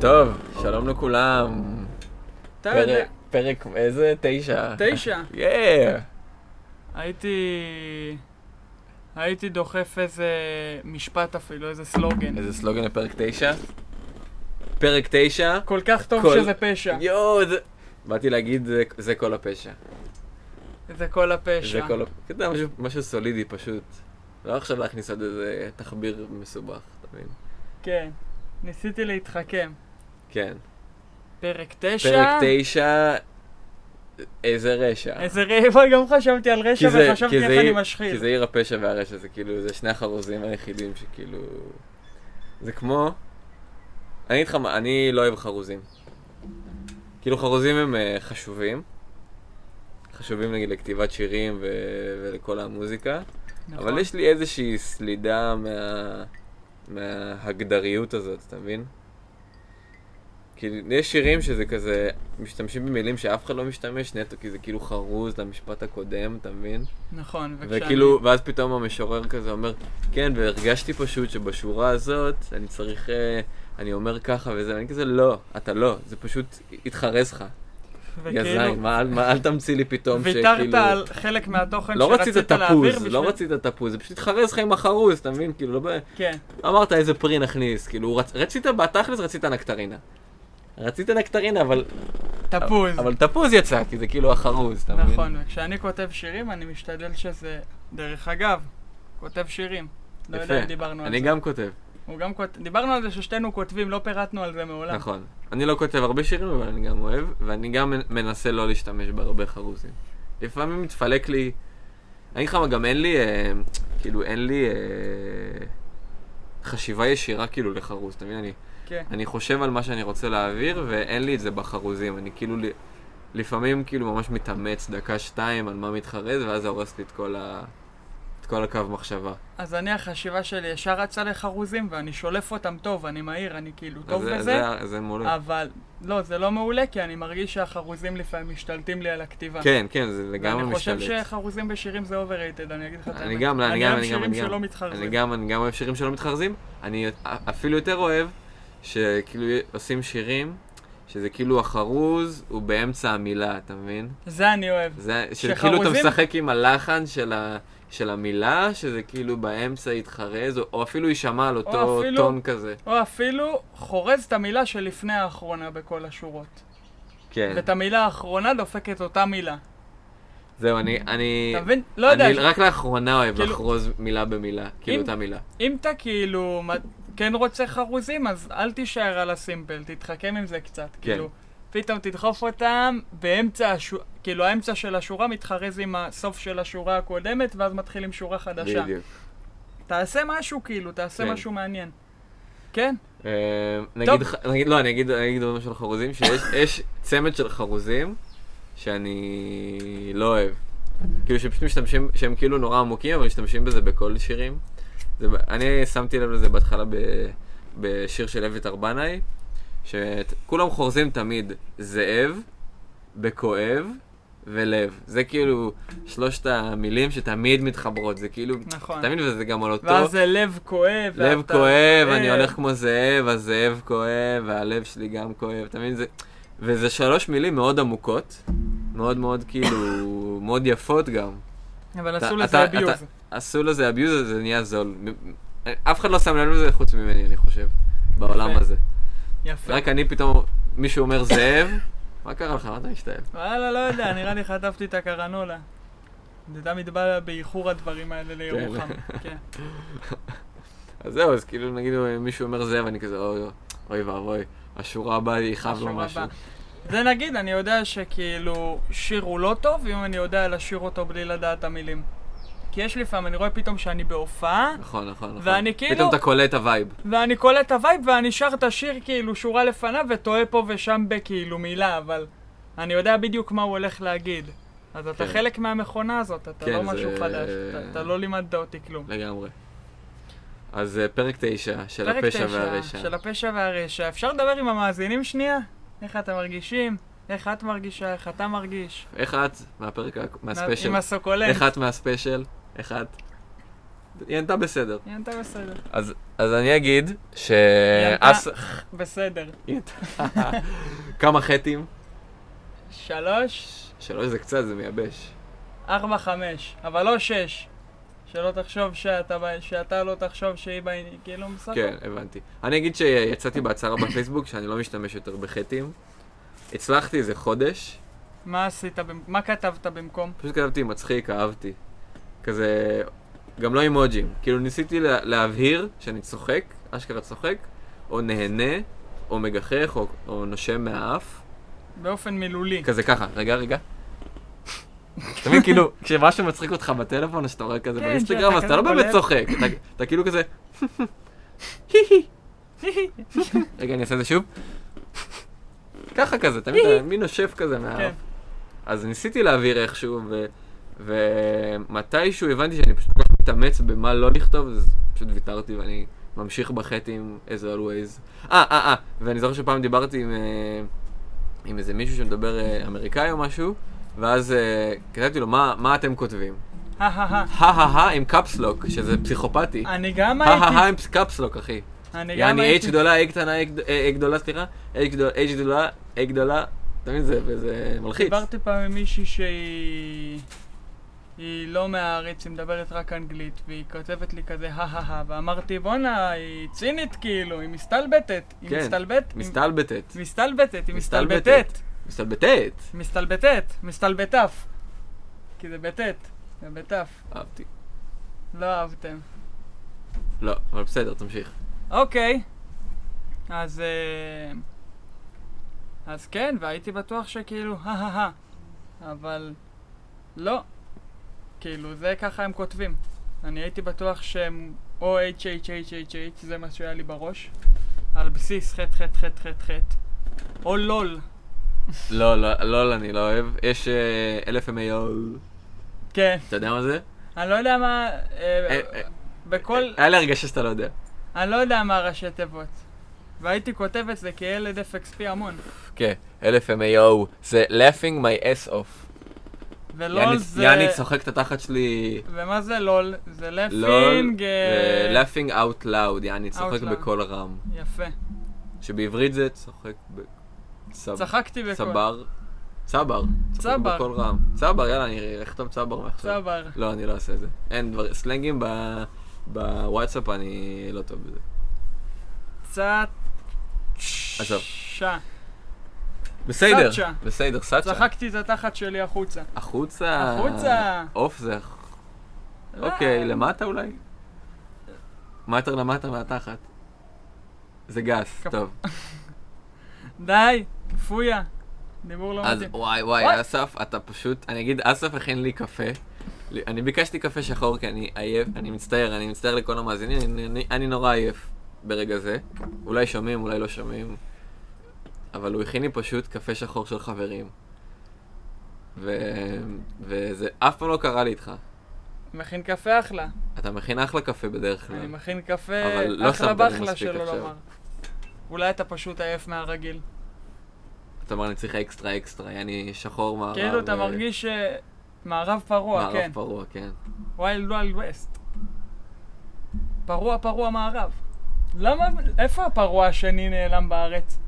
טוב, שלום לכולם. אתה יודע, פרק- פרק איזה? תשע. תשע. יא! הייתי... הייתי דוחף איזה משפט אפילו, איזה סלוגן. איזה סלוגן לפרק תשע? פרק תשע? כל כך טוב כל- שזה פשע. יואו, זה... באתי להגיד, זה- זה כל הפשע. זה כל הפשע. זה כל הפשע. אתה יודע, משהו- משהו סולידי פשוט. לא עכשיו להכניס עוד איזה תחביר מסובך, אתה מבין? כן. ניסיתי להתחכם. כן. פרק תשע? פרק תשע, איזה רשע. איזה רעבה, גם חשבתי על רשע כי זה- וחשבתי כי זה איך אני עיר- כי משחיר. זה עיר הפשע והרשע, זה כאילו, זה שני החרוזים היחידים שכאילו... זה כמו... אני אגיד לך מה, אני לא אוהב חרוזים. כאילו חרוזים הם אה, חשובים. חשובים נגיד לכתיבת שירים ו... ולכל המוזיקה. נכון. אבל יש לי איזושהי סלידה מה... מההגדריות הזאת, אתה מבין? כאילו, יש שירים שזה כזה, משתמשים במילים שאף אחד לא משתמש נטו, כי זה כאילו חרוז למשפט הקודם, אתה מבין? נכון, וכשאני- וכאילו, ואז פתאום המשורר כזה אומר, כן, והרגשתי פשוט שבשורה הזאת אני צריך, אה, אני אומר ככה וזה, ואני כזה, לא, אתה לא, זה פשוט התחרז לך. וכאילו- גזיים, מה- מה- אל תמציא לי פתאום ויתרת על חלק מהתוכן לא רצית שרצית להעביר תפוז, בשביל... לא רצית תפוז, זה פשוט התחרז לך עם החרוז, אתה מבין? כאילו, לא ב... כן, אמרת איזה פרי נכניס, כאילו, רצ- רצית, בתכלס רצית נקטרינה. רצית נקטרינה, אבל... תפוז. אבל תפוז יצא, כי זה כאילו החרוז, אתה מבין? נכון, וכשאני כותב שירים, אני משתדל שזה... דרך אגב, כותב שירים. לא יודע אם דיברנו יפה, על זה. אני גם כותב, הוא גם כות... דיברנו על זה ששתינו כותבים, לא פירטנו על זה מעולם. נכון. אני לא כותב הרבה שירים, אבל אני גם אוהב, ואני גם מנ- מנסה לא להשתמש בהרבה חרוזים. לפעמים מתפלק לי... אני אגיד לך מה, גם אין לי, אה, כאילו, אין לי אה, חשיבה ישירה כאילו לחרוז, אתה מבין? אני כן. אני חושב על מה שאני רוצה להעביר, ואין לי את זה בחרוזים. אני כאילו, ל- לפעמים כאילו ממש מתאמץ דקה-שתיים על מה מתחרז, ואז זה הורס לי את כל, ה... את כל הקו מחשבה. אז אני, החשיבה שלי ישר רצה לחרוזים, ואני שולף אותם טוב, אני מהיר, אני כאילו טוב אז בזה, זה, זה מעולה. אבל לא, זה לא מעולה, כי אני מרגיש שהחרוזים לפעמים משתלטים לי על הכתיבה. כן, כן, זה לגמרי ואני חושב משתלט. שחרוזים בשירים זה overrated, אני אגיד לך את האמת. אני גם, לא, אני גם, אני גם, אני אוהב אני שירים שלא גם, מתחרזים. אני גם, אני גם אוהב שירים שלא מתחרזים. אני אפילו יותר אוהב שכאילו עושים שירים, שזה כאילו החרוז הוא באמצע המילה, אתה מבין? זה אני אוהב. זה, שכאילו שחרוזים- אתה משחק עם הלחן של, ה, של המילה, שזה כאילו באמצע יתחרז, או, או אפילו יישמע על אותו אפילו- טון כזה. או אפילו חורז את המילה שלפני האחרונה בכל השורות. כן. ואת המילה האחרונה דופקת אותה מילה. זהו, אני... אני אתה מבין? לא יודע, אני רק לאחרונה אוהב כאילו- לחרוז מילה במילה, כאילו אם- אותה מילה. אם אתה כאילו מ- כן רוצה חרוזים, אז אל תישאר על הסימפל, תתחכם עם זה קצת. כן. כאילו, פתאום תדחוף אותם באמצע השורה, כאילו האמצע של השורה מתחרז עם הסוף של השורה הקודמת, ואז מתחיל עם שורה חדשה. בדיוק. תעשה משהו כאילו, תעשה כן. משהו מעניין. כן, אה, נגיד, ח- נגיד, לא, אני אגיד, אני אגיד עוד משהו על חרוזים, שיש יש צמד של חרוזים שאני לא אוהב. כאילו שפשוט משתמשים, שהם כאילו נורא עמוקים, אבל משתמשים בזה בכל שירים. זה, ב- אני שמתי לב לזה בהתחלה ב, בשיר של אביתר בנאי, שכולם חורזים תמיד זאב, בכואב ולב. זה כאילו שלושת המילים שתמיד מתחברות, זה כאילו, נכון. אתה מבין, וזה גם על אותו... ואז זה לב כואב. לב ואתה- כואב, אני אה, הולך כמו זאב, הזאב כואב, והלב שלי גם כואב, אתה מבין? זה... וזה שלוש מילים מאוד עמוקות, מאוד מאוד כאילו, מאוד יפות גם. אבל אתה- עשו אתה- לזה אתה- abuse. עשו לזה abuse, זה נהיה זול. אף אחד לא שם לב לזה חוץ ממני, אני חושב, בעולם יפה. הזה. יפה. רק אני פתאום, מישהו אומר זאב, מה קרה לך? מה אתה משתעל? וואלה, לא יודע, נראה לי חטפתי את הקרנולה. זה תמיד בא באיחור הדברים האלה לירוחם. כן. אז זהו, אז כאילו, נגיד מישהו אומר זאב, אני כזה, "אוי, אוי ואבוי, השורה הבאה יכאב לו השורה משהו. הבאה. זה נגיד, אני יודע שכאילו שיר הוא לא טוב, אם אני יודע לשיר אותו בלי לדעת את המילים. כי יש לפעמים, אני רואה פתאום שאני בהופעה, נכון, נכון, נכון. ואני כאילו- פתאום אתה קולט את הווייב. ואני קולט את הווייב ואני שר את השיר כאילו שורה לפניו וטועה פה ושם בכאילו כאילו מילה, אבל אני יודע בדיוק מה הוא הולך להגיד. אז אתה כן. חלק מהמכונה הזאת, אתה כן, לא משהו זה- חדש, אתה- אתה לא לימדת אותי כלום. לגמרי. אז אה, פרק תשע של פרק הפשע תשע, והרשע. של הפשע והרשע. אפשר לדבר עם המאזינים שנייה? איך אתם מרגישים? איך את מרגישה? איך אתה מרגיש? איך את מהפרק, ה- מהספיישל? עם הסוקולנט. איך את מהספיישל? איך את? היא ענתה בסדר. ינת בסדר. אז אז אני אגיד ש... ענתה- אס- בסדר. היא ענתה- כמה חטים? שלוש, שלוש זה קצת, זה מייבש. ארבע, חמש. אבל לא שש. שלא תחשוב שאתה, ב- שאתה לא תחשוב שהיא בעניין. כאילו בסך כן, הבנתי. אני אגיד שיצאתי בהצהרה בפייסבוק שאני לא משתמש יותר בחטים. הצלחתי איזה חודש, מה עשית? במ- מה כתבת במקום? פשוט כתבתי מצחיק, אהבתי. כזה, גם לא אימוג'ים. כאילו ניסיתי לה, להבהיר שאני צוחק, אשכרה צוחק, או נהנה, או מגחך, או, או נושם מהאף. באופן מילולי. כזה ככה, רגע, רגע. אתה מבין, כאילו, כשמשהו מצחיק אותך בטלפון, או שאתה רואה כזה כן, באינסטגרם, שאתה אז אתה לא כזה באמת בולט. צוחק. אתה, אתה כאילו כזה, "היי-היי". רגע, אני אעשה את זה שוב. ככה כזה, תמיד היי. מי נושף כזה מהאף. כן. אז ניסיתי להעביר איכשהו, ו- ומתישהו הבנתי שאני פשוט כל כך מתאמץ במה לא לכתוב, אז פשוט ויתרתי ואני ממשיך בחטים as always. אה, אה, אה, ואני זוכר שפעם דיברתי עם, אה, עם איזה מישהו שמדבר אה, אמריקאי או משהו, ואז אה, כתבתי לו, מה, מה אתם כותבים? הא הא הא הא הא עם קפסלוק, שזה פסיכופתי. הא. אני גם הא הא הא הייתי. עם קפסלוק, אחי. אני גם יעני הייתי. H גדולה, A קטנה, A גד- A גדולה, סליחה, H גדולה, H גדולה, A גדולה, אתה מבין, זה- זה מלחיץ. דיברתי פעם עם מישהי שהיא... היא לא מהארץ, היא מדברת רק אנגלית, והיא כותבת לי כזה הא הא הא, ואמרתי בואנה, היא צינית כאילו, היא מסתלבטת. היא כן, מסתלבט... היא מסתלבטת. מסתלבטת, היא מסתלבטת. מסתלבטת. מסתלבטת. מסתלבטת, מסתלבטף. כי זה בטט, זה בטף. אהבתי. לא אהבתם. לא, אבל בסדר, תמשיך. אוקיי. אז... אה, אז כן, והייתי בטוח שכאילו, הא-הא-הא. אבל... לא. כאילו, זה ככה הם כותבים. אני הייתי בטוח שהם או HHHHH, זה מה שהיה לי בראש. על בסיס ח' ח' ח' ח' ח'. או לול. לא, לא, לא, אני לא אוהב. יש אה, LFMAO, כן. אתה יודע מה זה? אני לא יודע מה... אה, אה, אה, בכל... היה לי הרגשה שאתה לא יודע. אני לא יודע מה ראשי תיבות. והייתי כותב את זה כילד FXP המון. כן, LFMAO, זה laughing my ass off. ולול יעני- לא, זה... יעני צוחק את התחת שלי. ומה זה לול? זה לול, אה, לפינג... זה laughing out loud, יעני צוחק Out loud. בקול רם. יפה. שבעברית זה צוחק ב... סב- צחקתי בכל. צבר. צבר. צוחק צבר. בקול רם. צבר, יאללה, אני אכתוב צבר מעכשיו. צבר. לא, אני לא אעשה את זה. אין דבר... סלנגים ב... בוואטסאפ אני לא טוב בזה. צ... עזוב. שע. בסדר, סאצ'ה. בסדר, סאצ'ה. צחקתי את התחת שלי החוצה. החוצה. החוצה. אה. עוף זה... אה, אוקיי, למטה אולי? מה יותר למטה מהתחת? זה גס, כפ- טוב. די, כפויה. דיבור לא אז מתאים. וואי וואי, וואי. אסף, אתה פשוט... אני אגיד, אסף הכין לי קפה. לי- אני ביקשתי קפה שחור כי אני עייף, אני מצטער, אני מצטער לכל המאזינים, אני- אני- אני נורא עייף ברגע זה. אולי שומעים, אולי לא שומעים. אבל הוא הכין לי פשוט קפה שחור של חברים. ו... וזה אף פעם לא קרה לי איתך. מכין קפה אחלה. אתה מכין אחלה קפה בדרך אני כלל. מכין קפה אבל לא שמת אחלה את זה באחלה מספיק שלא עכשיו. לומר. אולי אתה פשוט עייף מהרגיל. אתה אומר, אני צריך אקסטרה אקסטרה, יעני שחור מערב. כאילו אתה אה, מרגיש אה, מערב פרוע, כן. מערב פרוע, כן. ויילד ויילד ווסט. פרוע פרוע מערב. למה, איפה הפרוע השני נעלם בארץ?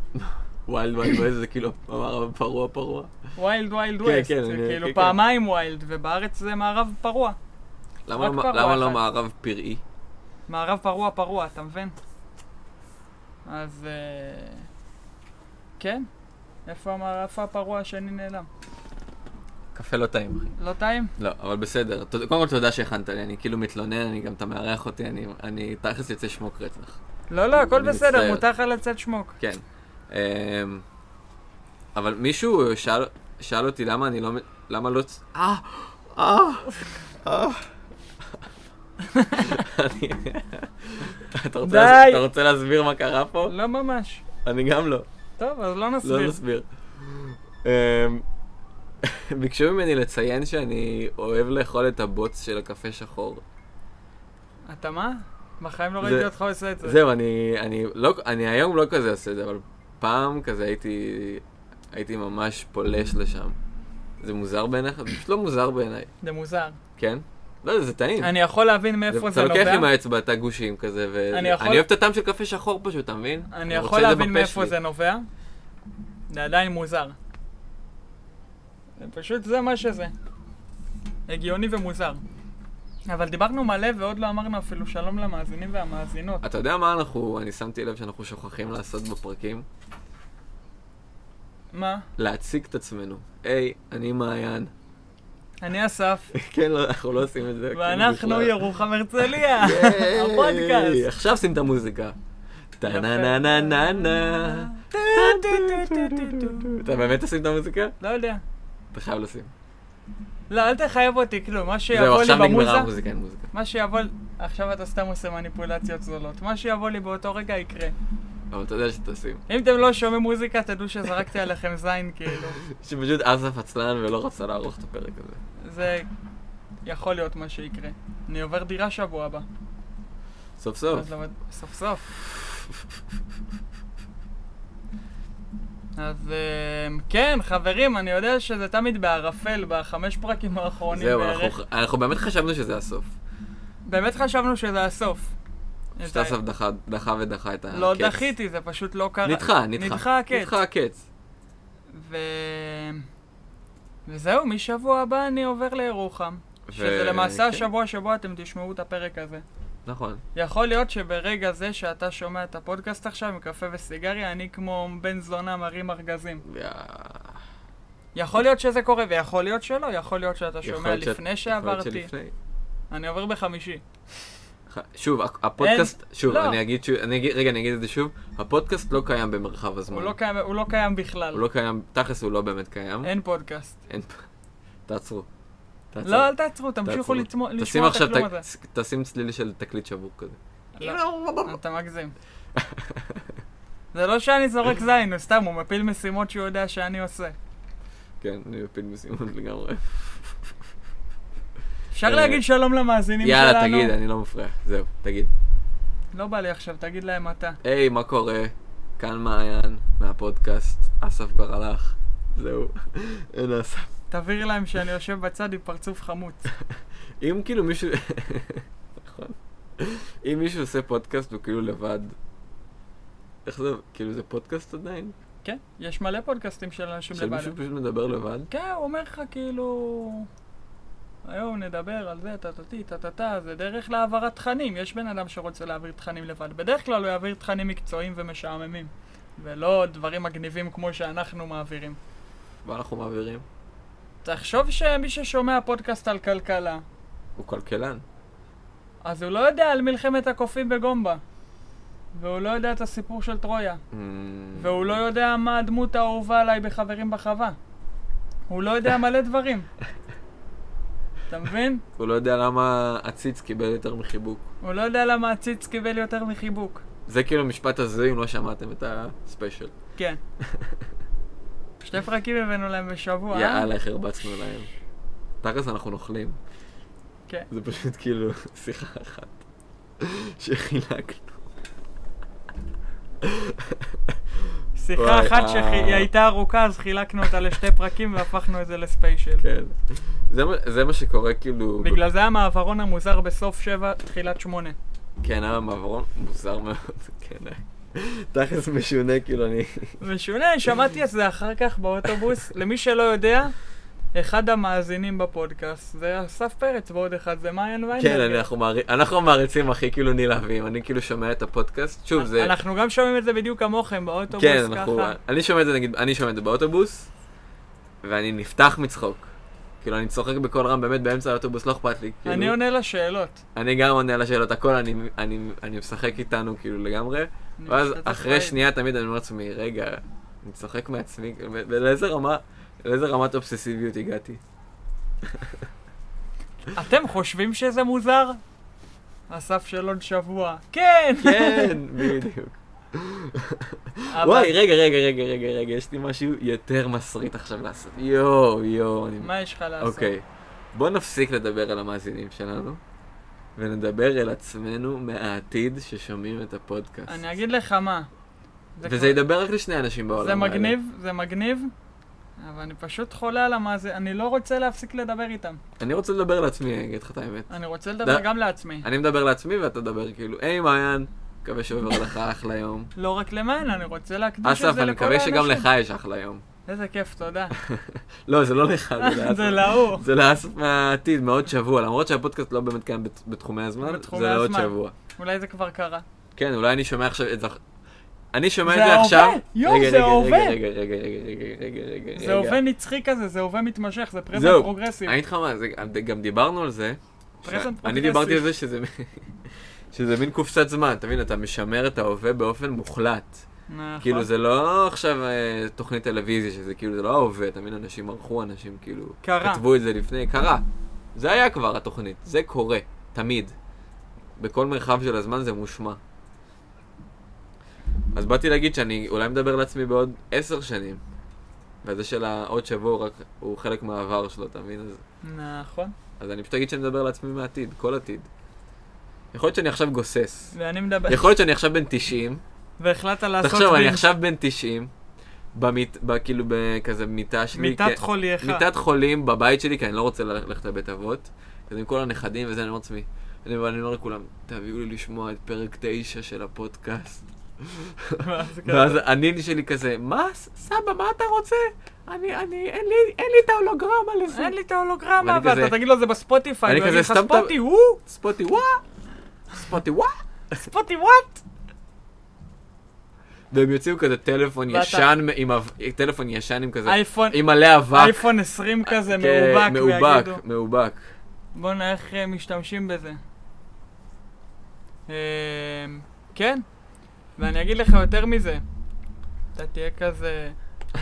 וואלד וואלד וואלד זה כאילו המערב פרוע פרוע. ויילד ויילד כן, ווסט. כן, זה אני- כאילו כן, כן. פעמיים ויילד, ובארץ זה מערב פרוע. למה רק לא- פרוע למה לא אחד. מערב פראי? מערב פרוע פרוע, אתה מבין? אז... אה, כן. איפה המערב- איפה הפרוע השני נעלם? קפה לא טעים, אחי. לא טעים? לא, אבל בסדר. תודה- קודם כל תודה שהכנת לי, אני כאילו מתלונן, אני גם, אתה מארח אותי, אני- אני תכלס יוצא שמוק רצח. לא, לא, הכל אני בסדר, מצטער. מותר לך לצאת שמוק. כן. אמ, אבל מישהו שאל- שאל אותי למה אני לא... מ- למה לא... צ- אה! אה! אה. אני- אתה רוצה די. להס- אתה רוצה להסביר מה קרה פה? לא ממש. אני גם לא. טוב, אז לא לא נסביר. נסביר. אמ, ביקשו ממני לציין שאני אוהב לאכול את הבוץ של הקפה שחור. אה. אתה מה? בחיים לא זה- ראיתי אותך עושה את זה. זהו, אני, אני, לא, אני היום לא כזה עושה את זה, אבל פעם כזה הייתי, הייתי ממש פולש לשם. זה מוזר בעיניך? זה פשוט לא מוזר בעיניי, זה מוזר. כן? לא, זה טעים. אני יכול להבין מאיפה זה אתה לוקח עם נובע. האצבע את הגושים כזה, ו... אני אני, יכול- אוהב את הטעם של קפה שחור פשוט, אתה מבין? אני רוצה יכול את זה להבין בפה מאיפה שלי. זה נובע. זה עדיין מוזר. זה פשוט זה מה שזה. הגיוני ומוזר. אבל דיברנו מלא ועוד לא אמרנו אפילו שלום למאזינים והמאזינות. אתה יודע מה אנחנו, אני שמתי לב שאנחנו שוכחים לעשות בפרקים? מה? להציג את עצמנו. היי, אני מעיין. אני אסף, כן, לא, אנחנו לא עושים את זה. כאילו, ואנחנו בכלל. ירוחם הרצליה, היי, הפודקאסט. עכשיו שים את המוזיקה. טה נה נה נה נה נה טו, טו, טו, טו, טו, טו. אתה באמת תשים את המוזיקה? לא יודע. אתה חייב לשים. לא, אל תחייב אותי כלום, מה זהו, שיבוא לי עכשיו נגמרה במוזה, המוזיקה, אין מוזיקה. מה שיבוא, עכשיו אתה סתם עושה מניפולציות זולות, מה שיבוא לי באותו רגע יקרה. אבל אתה יודע שתשים. אם אתם לא שומעים מוזיקה, תדעו שזרקתי עליכם זין, כאילו. שפשוט אסף עצלן ולא רצה לערוך את הפרק הזה. זה יכול להיות מה שיקרה. אני עובר דירה שבוע הבא. סוף סוף. אז למד- סוף סוף. אז אמ, כן, חברים, אני יודע שזה תמיד בערפל, בחמש פרקים האחרונים זהו, בערך. אנחנו- אנחנו באמת חשבנו שזה הסוף. באמת חשבנו שזה הסוף. פשוט אסף דחה- דחה ודחה את הקץ. לא דחיתי, זה פשוט לא קרה. אה, כן. נדחה, נדחה. נדחה כן. הקץ. נדחה הקץ. ו... וזהו, משבוע הבא אני עובר לירוחם. ו- שזה למעשה כן. השבוע שבו אתם תשמעו את הפרק הזה. נכון. יכול להיות שברגע זה שאתה שומע את הפודקאסט עכשיו עם קפה וסיגריה, אני כמו בן זונה מרים ארגזים. יא- יכול להיות שזה קורה, ויכול להיות שלא, יכול להיות שאתה יכול שומע להיות שאת- לפני יכול להיות שעברתי. שלפני. אני עובר בחמישי. ח- שוב, ה- הפודקאסט, שוב, לא. אני אגיד, שוב- אני אגיד- רגע, אני אגיד את זה שוב, הפודקאסט לא קיים במרחב הזמן. הוא לא קיים- הוא לא קיים בכלל. הוא לא קיים, תכלס הוא לא באמת קיים. אין פודקאסט. אין... תעצרו. תעצרו. לא, אל תעצרו, תעצרו. תמשיכו לתמו- תשים לשמוע את עכשיו, הכלום ת- הזה. ת- תשים צליל של תקליט שבור כזה. לא, אתה מגזים. זה לא שאני זורק זין, הוא סתם, הוא מפיל משימות שהוא יודע שאני עושה. כן, אני מפיל משימות לגמרי. אפשר אה, להגיד שלום למאזינים שלנו? יאללה, תגיד, אני לא מפריע. זהו, תגיד. לא בא לי עכשיו, תגיד להם אתה. היי, מה קורה? כאן מעיין מהפודקאסט, אסף כבר הלך. זהו, אין אסף. תבהיר להם שאני יושב בצד עם פרצוף חמוץ. אם כאילו מישהו... נכון. אם מישהו עושה פודקאסט הוא כאילו לבד. איך זה, כאילו זה פודקאסט עדיין? כן, יש מלא פודקאסטים של אנשים של לבד. לא. מישהו פשוט מדבר לבד? כן, הוא אומר לך כאילו... היום נדבר על זה, טה-טה-טי, טה-טה-טה, זה דרך להעברת תכנים. יש בן אדם שרוצה להעביר תכנים לבד. בדרך כלל הוא יעביר תכנים מקצועיים ומשעממים. ולא דברים מגניבים כמו שאנחנו מעבירים. מה אנחנו מעבירים? תחשוב שמי ששומע פודקאסט על כלכלה, הוא כלכלן. אז הוא לא יודע על מלחמת הקופים בגומבה. והוא לא יודע את הסיפור של טרויה. והוא לא יודע מה הדמות האהובה עליי בחברים בחווה. הוא לא יודע מלא דברים. אתה מבין? הוא לא יודע למה עציץ קיבל יותר מחיבוק. הוא לא יודע למה הציץ קיבל יותר מחיבוק. זה כאילו משפט הזוי אם לא שמעתם את הספיישל. כן. שני פרקים הבאנו להם בשבוע. אה? יאללה, איך הרבצנו להם. תכלס אנחנו נוכלים. כן. זה פשוט כאילו שיחה אחת שחילקנו. שיחה וואי, אחת אה. שהיא הייתה ארוכה, אז חילקנו אותה לשתי פרקים והפכנו את זה לספיישל. כן. זה מה- זה מה שקורה כאילו... בגלל זה המעברון המוזר בסוף שבע, תחילת שמונה. כן, היה מעברון מוזר מאוד, כן. היה. תכלס משונה, כאילו אני... משונה, שמעתי את זה אחר כך באוטובוס. למי שלא יודע, אחד המאזינים בפודקאסט זה אסף פרץ, ועוד אחד זה מעיין כן, ויינברגר. אני- אנחנו מעריצים, אנחנו המעריצים הכי כאילו נלהבים, אני כאילו שומע את הפודקאסט, שוב, זה... אנחנו גם שומעים את זה בדיוק כמוכם באוטובוס, כן, ככה. אנחנו... אני שומע את זה, נגיד, אני שומע את זה באוטובוס, ואני נפתח מצחוק. כאילו, אני צוחק בקול רם, באמת, באמצע האוטובוס, לא אכפת לי. כאילו, אני עונה לשאלות. אני גם עונה על השאלות, הכל, אני, אני, אני משחק איתנו, כאילו, לגמרי. אני ואז משתתף אחרי בעיד. שנייה תמיד אני אומר לעצמי, רגע, אני צוחק מעצמי, כאילו, ו- ולאיזה רמה, לאיזה רמת אובססיביות הגעתי. אתם חושבים שזה מוזר? אסף של עוד שבוע. כן! כן, בדיוק. אבל וואי, רגע, רגע, רגע, רגע, רגע, יש לי משהו יותר מסריט עכשיו לעשות. יואו, יואו, אני... מה יש לך לעשות? אוקיי. בוא נפסיק לדבר על המאזינים שלנו, ונדבר אל עצמנו מהעתיד ששומעים את הפודקאסט. אני אגיד לך מה. זה וזה כבר- ידבר רק לשני אנשים בעולם. זה האלה. מגניב, זה מגניב, אבל אני פשוט חולה על המאזין, אני לא רוצה להפסיק לדבר איתם. אני רוצה לדבר לעצמי, אני אגיד לך את האמת. אני רוצה לדבר לא. גם לעצמי. אני מדבר לעצמי ואתה מדבר כאילו, היי מעיין, מקווה שעובר לך אחלה יום. לא רק למען, אני רוצה להקדיש את אסף, זה לכל האנשים. אני מקווה שגם לך יש אחלה יום. איזה כיף, תודה. לא, זה לא לך, זה זה לאסף. להוא. זה לאסף מהעתיד, מעוד שבוע, למרות שהפודקאסט לא באמת קיים בת- בתחומי הזמן, לא בתחומי זה לעוד הזמן. שבוע. אולי זה כבר קרה. כן, אולי אני שומע עכשיו את זה. אני שומע את זה זה ההווה. עכשיו. יואו, רגע, זה רגע, ההווה. רגע, רגע, רגע, רגע, רגע, רגע, זה הווה נצחי כזה, זה הווה מתמשך, זה פרזנט זהו. פרוגרסיב. אני אגיד לך מה, זה- גם דיברנו על זה. פרזנט שאני- אני פרוגרסיב. דיברתי על זה שזה מ- שזה מין קופסת זמן, אתה מבין? אתה משמר את ההווה באופן מוחלט. נכון. כאילו זה לא עכשיו אה, תוכנית טלוויזיה, שזה כאילו זה לא ההווה, אתה מבין? אנשים ערכו, אנשים כאילו... קרה. כתבו את זה לפני, קרה. זה היה כבר התוכנית, זה קורה, תמיד. בכל מרחב של הזמן זה מושמע. אז באתי להגיד שאני אולי מדבר לעצמי בעוד עשר שנים. וזה של העוד שבוע הוא רק, הוא חלק מהעבר שלו, אתה מבין? אז, נכון. אז אני פשוט אגיד שאני מדבר לעצמי מהעתיד, כל עתיד. יכול להיות שאני עכשיו גוסס. ואני מדבר... יכול להיות שאני עכשיו בן 90, והחלטת לעשות... תחשוב, אני מין עכשיו בן 90, במיט, ב- כאילו בכזה מיטה שלי, מיטת כ- חולייך. מיטת חולים בבית שלי, כי אני לא רוצה ללכת לבית אבות. אז עם כל הנכדים וזה, אני אומר לעצמי, אני אני אומר לכולם, תביאו לי לשמוע את פרק 9 של הפודקאסט. ואז כזה. ואז הנין שלי כזה, מה, ס- סבא, מה אתה רוצה? אני, אני, אין לי, אין לי את ההולוגרמה לזה. אין לי את ההולוגרמה, ואני כזה- ואתה תגיד לו זה בספוטיפיי, ואני הוא יגיד כזה לך סתם ת- ספוטי, וואו, ספוטי וואה, ספוטי וואה. ספוטי וואט. והם יוציאו כזה טלפון ואתה- ישן, עם אב- טלפון ישן עם כזה, אייפון, עם מלא אבק. אייפון 20 כזה, כן, מאובק, ויגידו. מאובק, מאובק. בואנה, איך אה, משתמשים בזה. אה, כן, ואני אגיד לך יותר מזה. אתה תהיה כזה,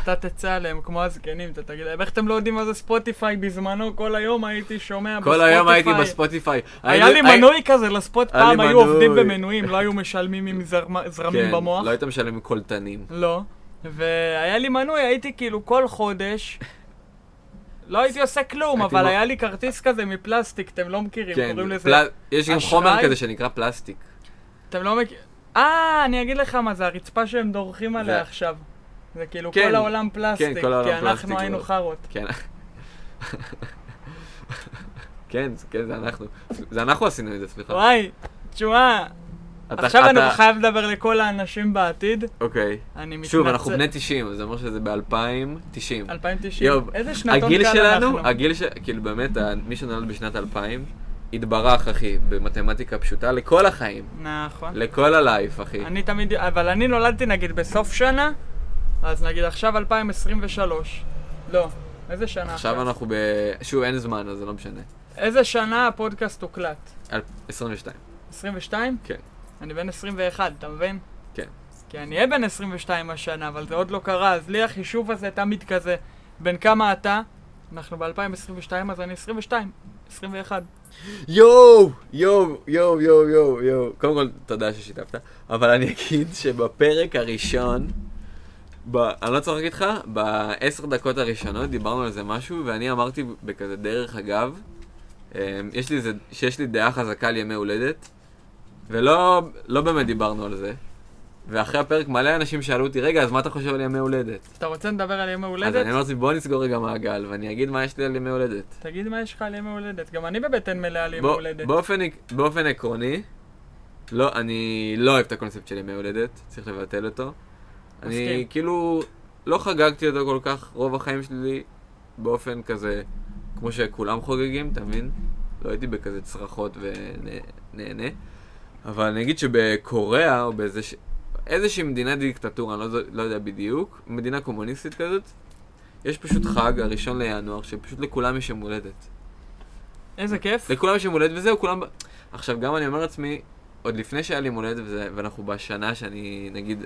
אתה תצא עליהם כמו הזקנים, אתה תגיד להם, איך אתם לא יודעים מה זה ספוטיפיי בזמנו? כל היום הייתי שומע כל היום הייתי בספוטיפיי. לא- היה לי היינו- מנוי כזה לספוט, היה לי פעם היו מנוי. עובדים במנויים, לא היו משלמים עם זרמה- זרמים כן, במוח. לא היית משלם עם קולטנים. לא. והיה לי מנוי, הייתי כאילו כל חודש. לא הייתי עושה כלום, הייתי אבל מ- היה לי כרטיס כזה מפלסטיק, אתם לא מכירים, כן, קוראים לזה... פל- יש גם אשראי? חומר כזה שנקרא פלסטיק. אתם לא מכירים... אה, אני אגיד לך מה, זה הרצפה שהם דורכים זה- עליה עכשיו. זה כאילו כן, כל העולם פלסטיק, כל העולם כי אנחנו פלסטיק, היינו לא. חארות. כן. כן, זה- כן, זה אנחנו. זה אנחנו עשינו את זה, סליחה. וואי, תשמע, אתה- עכשיו אני אתה- חייב לדבר לכל האנשים בעתיד, אוקיי. אני מתנצל. שוב, אנחנו בני 90, אז זה אומר שזה ב-2090. 2090, יוב, איזה שנתון הגיל קל שלנו, אנחנו. הגיל ש... כאילו באמת, ה- מי שנולד בשנת 2000, התברך, אחי, במתמטיקה פשוטה לכל החיים. נכון. לכל הלייף, אחי. אני תמיד, אבל אני נולדתי נגיד בסוף שנה, אז נגיד עכשיו 2023. לא, איזה שנה עכשיו אנחנו ב... שוב, אין זמן, אז זה לא משנה. איזה שנה הפודקאסט הוקלט? אל- 22. 22? כן. אני בן 21, אתה מבין? כן. כי אני אהיה בן 22 השנה, אבל זה עוד לא קרה, אז לי החישוב הזה תמיד כזה, בן כמה אתה? אנחנו ב-2022, אז אני 22, 21. יואו! יואו! יואו! יואו! יואו! יואו! קודם כל, תודה ששיתפת, אבל אני אגיד שבפרק הראשון, ב... אני לא צוחק איתך, בעשר דקות הראשונות דיברנו על זה משהו, ואני אמרתי בכזה דרך אגב, אמ, יש לי איזה, שיש לי דעה חזקה על ימי הולדת, ולא לא באמת דיברנו על זה. ואחרי הפרק מלא אנשים שאלו אותי, רגע, אז מה אתה חושב על ימי הולדת? אתה רוצה לדבר על ימי אז אני לא- הולדת? אמרתי, בוא נסגור רגע מעגל, ואני אגיד מה יש לי על ימי הולדת. תגיד מה יש לך על ימי הולדת. גם אני בבטן מלאה על ימי בוא- הולדת. באופן, עק- באופן עקרוני, לא, אני לא אוהב את הקונספט של ימי הולדת, צריך לבטל אותו. אני מסכים. כאילו לא חגגתי אותו כל כך רוב החיים שלי באופן כזה, כמו שכולם חוגגים, אתה מבין? לא הייתי בכזה צרחות ונהנה. אבל אני אגיד שבקוריאה, או באיזה ש... איזושהי מדינה דיקטטורה, אני לא, זו- לא יודע בדיוק, מדינה קומוניסטית כזאת, יש פשוט חג, הראשון לינואר, שפשוט לכולם יש יום הולדת. איזה כיף. לכולם יש יום הולדת וזהו, כולם... עכשיו, גם אני אומר לעצמי, עוד לפני שהיה לי יום הולדת וזה, ואנחנו בשנה שאני, נגיד,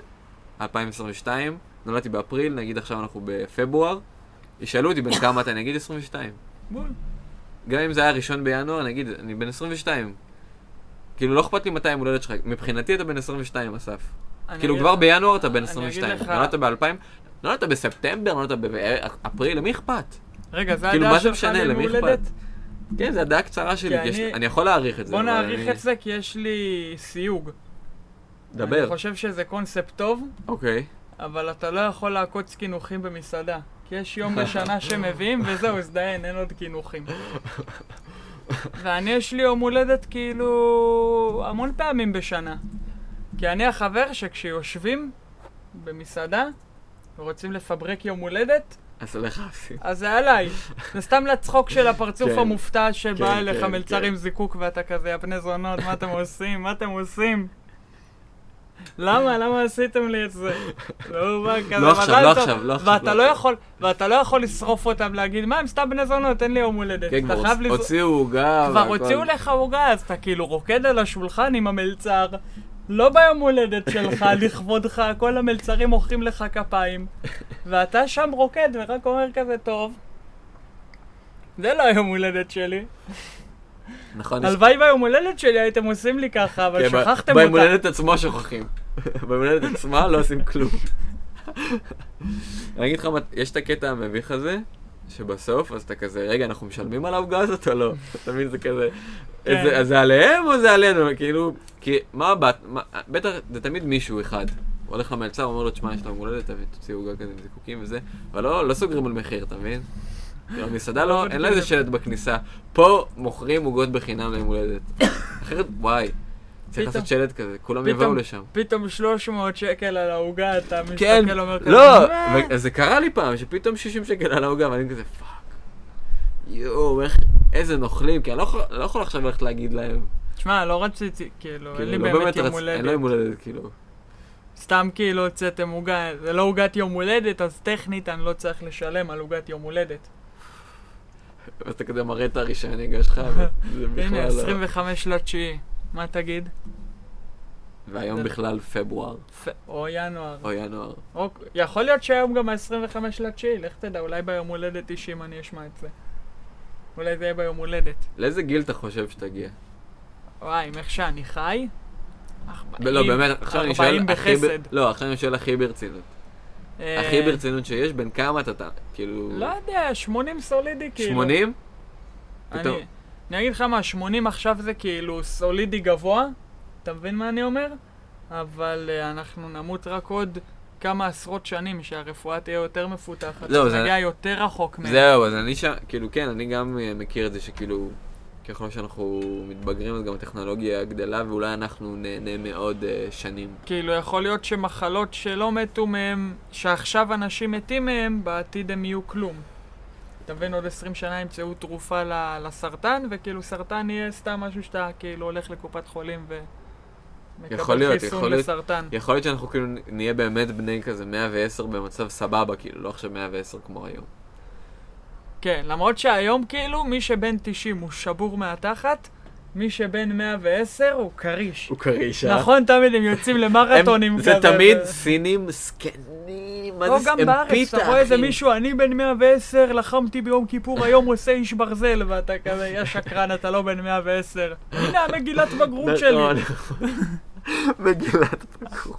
2022, נולדתי באפריל, נגיד עכשיו אנחנו בפברואר, ישאלו אותי בן כמה אתה, אני אגיד 22. בול. גם אם זה היה ראשון בינואר, אני אגיד, אני בן 22. כאילו, לא אכפת לי מתי יום הולדת שלך, מבחינתי אתה בן 22, אסף. אני כאילו אגיד כבר לך- בינואר אתה בן אני 22, אגיד לך- נולדת ב-2000, נולדת בספטמבר, נולדת באפריל, למי אכפת? רגע, זה כאילו, הדעה מה זה שלך משנה? ליום למי אכפת? הולדת? כן, זו הדעה קצרה שלי, כי יש- אני- אני יכול להעריך את זה. בוא אבל נעריך אני- את זה כי יש לי סיוג. דבר, אני חושב שזה קונספט טוב, אוקיי. אבל אתה לא יכול לעקוץ קינוחים במסעדה. כי יש יום בשנה שמביאים, וזהו, הזדיין, אין עוד קינוחים. ואני, יש לי יום הולדת כאילו המון פעמים בשנה. כי אני החבר שכשיושבים במסעדה ורוצים לפברק יום הולדת, אז לך עשי. אז זה עליי. זה סתם לצחוק של הפרצוף כן. המופתע שבא כן, אליך כן, מלצר כן. עם זיקוק ואתה כזה, יא בני זונות, מה אתם עושים? מה אתם עושים? למה? למה עשיתם לי את זה? והוא בא כזה, לא עכשיו, "מזל לא טוב." עכשיו, לא עכשיו, ואתה לא לא עכשיו. יכול, ואתה לא יכול לשרוף אותם, להגיד, מה, הם סתם בני זונות, אין לי יום הולדת. כן, אתה כבר חייב לז- הוציאו עוגה. כבר והכל. הוציאו לך עוגה, אז אתה כאילו רוקד על השולחן עם המלצר. לא ביום הולדת שלך, לכבודך, כל המלצרים מוחאים לך כפיים. ואתה שם רוקד ורק אומר כזה, טוב, זה לא היום הולדת שלי. נכון, יש- הלוואי ביום הולדת שלי הייתם עושים לי ככה, כן, אבל ב- שכחתם ביום אותה. הולדת עצמו שוכחים. ביום הולדת עצמה לא עושים כלום. אני אגיד לך, מה- יש את הקטע המביך הזה, שבסוף, אז אתה כזה, רגע, אנחנו משלמים על העוגה הזאת או לא? אתה מבין, זה כזה, כן. "איזה- אז זה עליהם או זה עלינו? כאילו, כי מה הבת, מה- בטח, זה תמיד מישהו אחד. הוא הולך למלצר, אומר לו, תשמע, יש לה יום הולדת, תביא- תוציא עוגה כזה עם זיקוקים וזה, אבל לא לא סוגרים על מחיר, אתה מבין? המסעדה לא, אין לה איזה שלט בכניסה. פה מוכרים עוגות בחינם ליום הולדת. אחרת, וואי. צריך לעשות שלט כזה, כולם פתאום- יבואו לשם. פתאום 300 שקל על העוגה, אתה כן, מסתכל ואומר כזה, לא, "מה?" ו- זה קרה לי פעם, שפתאום 60 שקל על העוגה, ואני כזה, פאק. יואו, איך- איזה נוכלים, כי אני לא יכול- לא יכול עכשיו ללכת להגיד להם. תשמע, לא רציתי, כאילו, אין לי כאילו, לא באמת יום רצ- אין לו הולדת. יום הולדת, כאילו. סתם כאילו הוצאתם עוגה, זה לא עוגת יום הולדת, אז טכנית אני לא צריך לשלם על עוגת יום הולדת. ואז אתה כזה מראה את הרישיון הנהיגה שלך, וזה הנה, בכלל לא... 25 לתשיעי, מה תגיד? והיום בכלל פברואר, פ- או ינואר. או ינואר. או- יכול להיות שהיום גם ה-25 לתשיעי, לך תדע, אולי ביום הולדת 90 אני אשמע את זה. אולי זה יהיה ביום הולדת. לאיזה גיל אתה חושב שתגיע? וואי, עם איך שאני חי? ב- לא, באמת, עכשיו אני שואל... 40 הכי ב- בחסד. לא, עכשיו אני שואל הכי ברצינות. אה, הכי ברצינות שיש, בין כמה אתה- אתה, כאילו... לא יודע, 80 סולידי כאילו. 80? אני- פתאום. אני אגיד לך מה, 80 עכשיו זה כאילו סולידי גבוה, אתה מבין מה אני אומר? אבל אה, אנחנו נמות רק עוד כמה עשרות שנים, שהרפואה תהיה יותר מפותחת. לא, אז זה- נגיע יותר רחוק מהם. זהו, אז אני שם, כאילו, כן, אני גם אה, מכיר את זה שכאילו, ככל שאנחנו מתבגרים, אז גם הטכנולוגיה גדלה, ואולי אנחנו נהנה מעוד אה, שנים. כאילו, יכול להיות שמחלות שלא מתו מהם, שעכשיו אנשים מתים מהם, בעתיד הם יהיו כלום. אתה מבין, עוד 20 שנה ימצאו תרופה ל- לסרטן, וכאילו סרטן יהיה סתם משהו שאתה כאילו הולך לקופת חולים ו... יכול להיות, מקבל יכול חיסון להיות. לסרטן. יכול להיות שאנחנו כאילו נהיה באמת בני כזה 110 במצב סבבה, כאילו, לא עכשיו 110 כמו היום. כן, למרות שהיום כאילו מי שבן 90 הוא שבור מהתחת, מי שבן 110 הוא כריש. הוא קרישה. נכון, תמיד הם יוצאים למרתונים זה כזה. תמיד ו- סינים זקנים, מה או זה, גם הם בארץ, פיתה, אתה רואה איזה אחי. מישהו, אני בן 110, לחמתי ביום כיפור, היום עושה איש ברזל, ואתה כזה, יא שקרן, אתה לא בן 110. הנה המגילת בגרות שלי. נכון, נכון. מגילת פקור.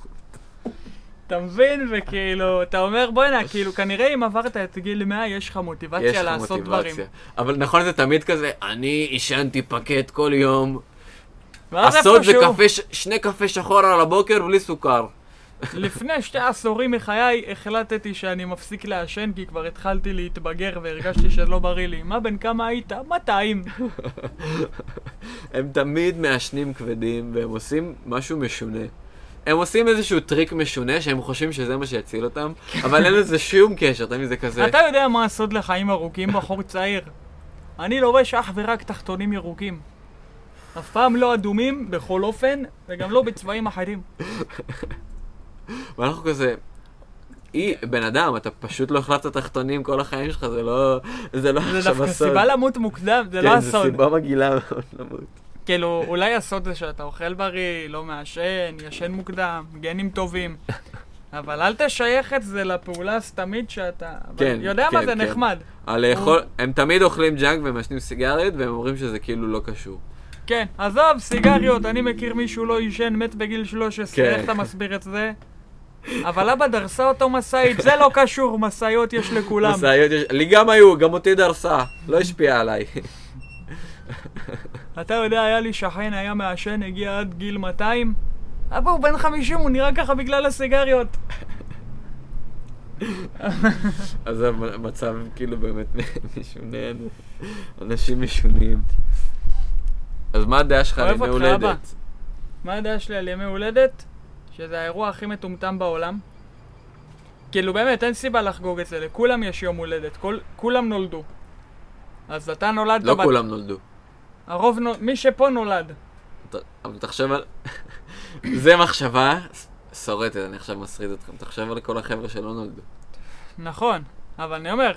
אתה מבין? וכאילו, אתה אומר, בוא'נה, כאילו, כנראה אם עברת את גיל 100, יש לך יש מוטיבציה לך לעשות דברים. מוטיבציה. אבל נכון, זה תמיד כזה, אני עישנתי פקט כל יום, ואז הסוד זה איפשהו- קפה, ש- שני קפה שחור על הבוקר בלי סוכר. לפני שתי עשורים מחיי החלטתי שאני מפסיק לעשן כי כבר התחלתי להתבגר והרגשתי שלא בריא לי. מה, בן כמה היית? 200. הם תמיד מעשנים כבדים, והם עושים משהו משונה. הם עושים איזשהו טריק משונה שהם חושבים שזה מה שיציל אותם, אבל אין לזה שום קשר, אתה מבין? זה כזה... כן. אתה יודע מה הסוד לחיים ארוכים, בחור צעיר? אני לובש אך ורק תחתונים ירוקים. אף פעם לא אדומים, בכל אופן, וגם לא בצבעים אחרים. ואנחנו כזה... אי, בן אדם, אתה פשוט לא החלפת תחתונים כל החיים שלך, זה לא... זה לא זה עכשיו דווקא הסוד. סיבה למות מוקדם, זה לא כן, זו הסוד. סיבה מגעילה מאוד למות. כאילו, אולי הסוד זה שאתה אוכל בריא, לא מעשן, ישן מוקדם, גנים טובים. אבל אל תשייך את זה לפעולה הסתמית שאתה... אבל כן, יודע מה כן, זה כן. נחמד. הלאכול, הם תמיד אוכלים ג'אנק ומעשנים סיגריות, והם אומרים שזה כאילו לא קשור. כן, עזוב, סיגריות, אני מכיר מישהו לא עישן, מת בגיל 13, כן. איך אתה מסביר את זה? אבל אבא דרסה אותו משאית, זה לא קשור, משאיות יש לכולם. משאיות יש- לי גם היו, גם אותי דרסה, לא השפיעה עליי. אתה יודע, היה לי שכן, היה מעשן, הגיע עד גיל 200. אבא, הוא בן 50, הוא נראה ככה בגלל הסיגריות. אז המצב כאילו באמת משונן, אנשים משונים. אז מה הדעה שלך על אוהב ימי אותך, הולדת? מה הדעה שלי על ימי הולדת? שזה האירוע הכי מטומטם בעולם. כאילו באמת, אין סיבה לחגוג את זה, לכולם יש יום הולדת, כל, כולם נולדו. אז אתה נולדת... לא בת- כולם נולדו. הרוב נולד, מי שפה נולד. ת- אבל תחשב על... זה מחשבה ס- שורטת, אני עכשיו מסריד אתכם. תחשב על כל החבר'ה שלא נולדו. נכון, אבל אני אומר...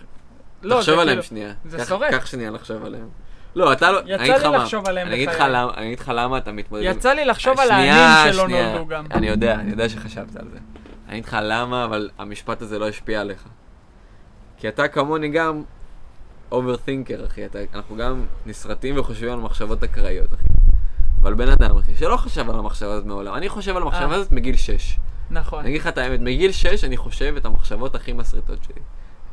לא, זה תחשוב עליהם כאילו- שנייה. זה קח- שורט. קח שנייה לחשוב עליהם. לא, אתה לא... יצא אני אגיד לי לך מה. לחשוב עליהם אני אגיד לך בחיי. למה- אני אגיד לך למה אתה מתמודד עם יצא לי לחשוב על שנייה, העניים שלא שנייה. נולדו גם. אני יודע, אני יודע שחשבת על זה. אני אגיד לך למה, אבל המשפט הזה לא השפיע עליך. כי אתה כמוני גם אוברתינקר, אחי. אתה, אנחנו גם נסרטים וחושבים על מחשבות אקראיות, אחי. אבל בן אדם, אחי, שלא חשב על המחשבה הזאת מעולם. אני חושב על המחשבה אה. הזאת מגיל 6. נכון. אני אגיד לך את האמת, מגיל 6 אני חושב את המחשבות הכי מסריטות שלי.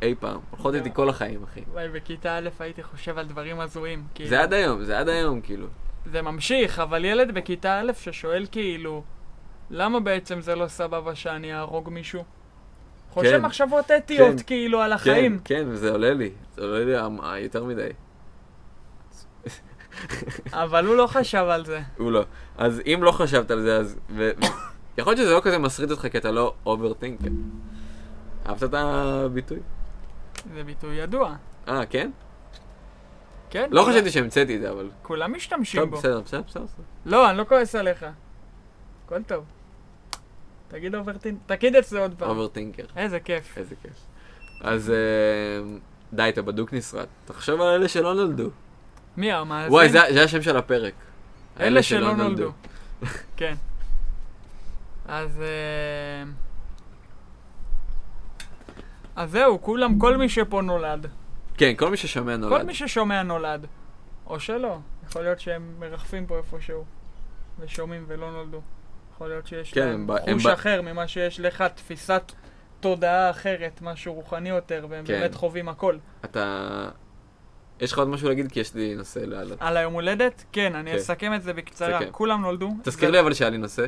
אי פעם. הולכות איתי כל החיים, אחי. וואי, בכיתה א' הייתי חושב על דברים הזויים. כאילו, זה עד היום, זה עד היום, כאילו. זה ממשיך, אבל ילד בכיתה א' ששואל כאילו, למה בעצם זה לא סבבה שאני אהרוג מישהו? חושב כן. מחשבות אתיות, כן. כאילו, על כן, החיים. כן, וזה עולה לי. זה עולה לי המ- ה- יותר מדי. אבל הוא לא חשב על זה. הוא לא. אז אם לא חשבת על זה, אז... ו... יכול להיות שזה לא כזה מסריט אותך, כי אתה לא אוברטינקר. אהבת את הביטוי? זה ביטוי ידוע. אה, כן? כן? לא כולם- חשבתי שהמצאתי את זה, אבל... כולם משתמשים טוב, בו. בסדר, בסדר, בסדר. בסדר. לא, אני לא כועס עליך. הכל טוב. תגיד אוברטין, תגיד את זה עוד פעם. אוברטינקר. איזה כיף. איזה כיף. אז אה, די, אתה בדוק נסרט. תחשוב על אלה שלא נולדו. מי המאזין? וואי, זה זה השם של הפרק. אלה שלא נולדו. כן. אז... אה, אז זהו, כולם, כל מי שפה נולד. כן, כל מי ששומע כל נולד. מי ששומע נולד. או שלא. יכול להיות שהם מרחפים פה איפשהו. ושומעים ולא נולדו. יכול להיות שיש כן, הם להם ב- הם חוש ב- אחר ממה שיש לך, תפיסת תודעה אחרת, משהו רוחני יותר, והם כן. באמת חווים הכל. אתה... יש לך עוד משהו להגיד? כי יש לי נושא לעלות. על היום הולדת? כן, אני כן. אסכם את זה בקצרה. סכם. כולם נולדו. תזכיר זה- לי אבל שהיה לי נושא,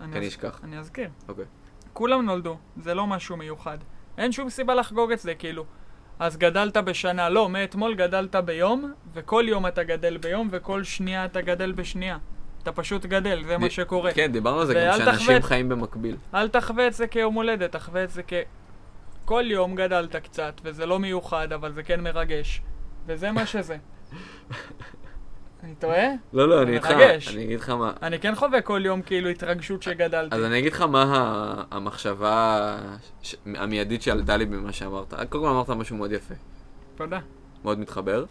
אני כי אני אזכיר. אשכח. אני אזכיר. אוקיי. כולם נולדו, זה לא משהו מיוחד. אין שום סיבה לחגוג את זה, כאילו. אז גדלת בשנה, לא, מאתמול גדלת ביום, וכל יום אתה גדל ביום, וכל שנייה אתה גדל בשנייה. אתה פשוט גדל, זה מה די- שקורה. כן, דיברנו על זה גם ואל שאנשים תחווה. חיים במקביל. אל תחווה את זה כיום הולדת, תחווה את זה כ... כל יום גדלת קצת, וזה לא מיוחד, אבל זה כן מרגש. וזה מה שזה. אני טועה? לא, לא, אני זה איתך, מרגש. אני אגיד לך מה. אני כן חווה כל יום כאילו התרגשות שגדלתי. אז אני אגיד לך מה ה- המחשבה ש- המיידית שעלתה לי ממה שאמרת. קודם כל אמרת משהו מאוד יפה, תודה. מאוד מתחבר.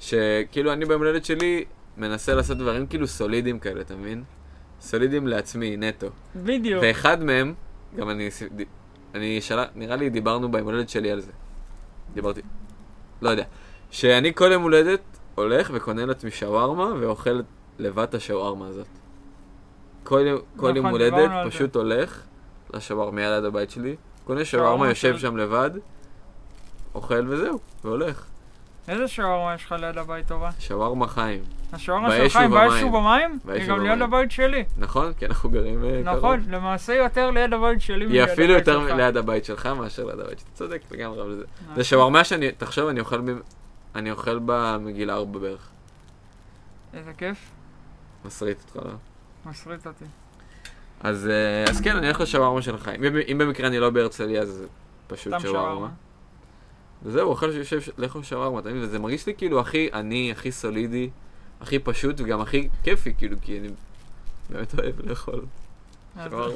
שכאילו אני ביום הולדת שלי מנסה לעשות דברים כאילו סולידיים כאלה, אתה מבין? סולידיים לעצמי, נטו. בדיוק. ואחד מהם, גם אני, ס- ד- אני שאלה, נראה לי דיברנו ביום הולדת שלי על זה. דיברתי, לא יודע. שאני כל יום הולדת הולך וקונה לעצמי שווארמה ואוכל לבד את השווארמה הזאת. כל יום, כל יום נכון, דיברנו הולדת על זה. פשוט הולך לשווארמה ליד הבית שלי, קונה שווארמה שווארמה, יושב של- שם לבד, אוכל וזהו, והולך. איזה שעורמה יש לך ליד הבית טובה? שווארמה חיים, השעורמה באש שלך היא באש ובמים. ובמים? באש היא גם ובמים. ליד הבית שלי. נכון? כי אנחנו גרים אה, קרוב. נכון, למעשה יותר ליד הבית שלי היא מליד אפילו הבית יותר שלך. ליד הבית שלך מאשר ליד הבית שלי. צודק לגמרי אבל זה. נכון. זה שווארמה שאני, תחשוב, אני אוכל, ב- אני אוכל בה מגיל ארבע בערך. איזה כיף, מסריט אותך, לא? מסריט אותי. אז, אה, אז כן, אני הולך לשווארמה של החיים. אם- אם במקרה אני לא בהרצליה, אז זה פשוט סתם שווארמה. שווארמה. וזהו, אוכל שיושב, לאכול שווארמה, אתה מבין? וזה מרגיש לי כאילו הכי עני, הכי סולידי, הכי פשוט וגם הכי כיפי, כאילו, כי אני באמת אוהב לאכול אוקיי. אז- שווארמה.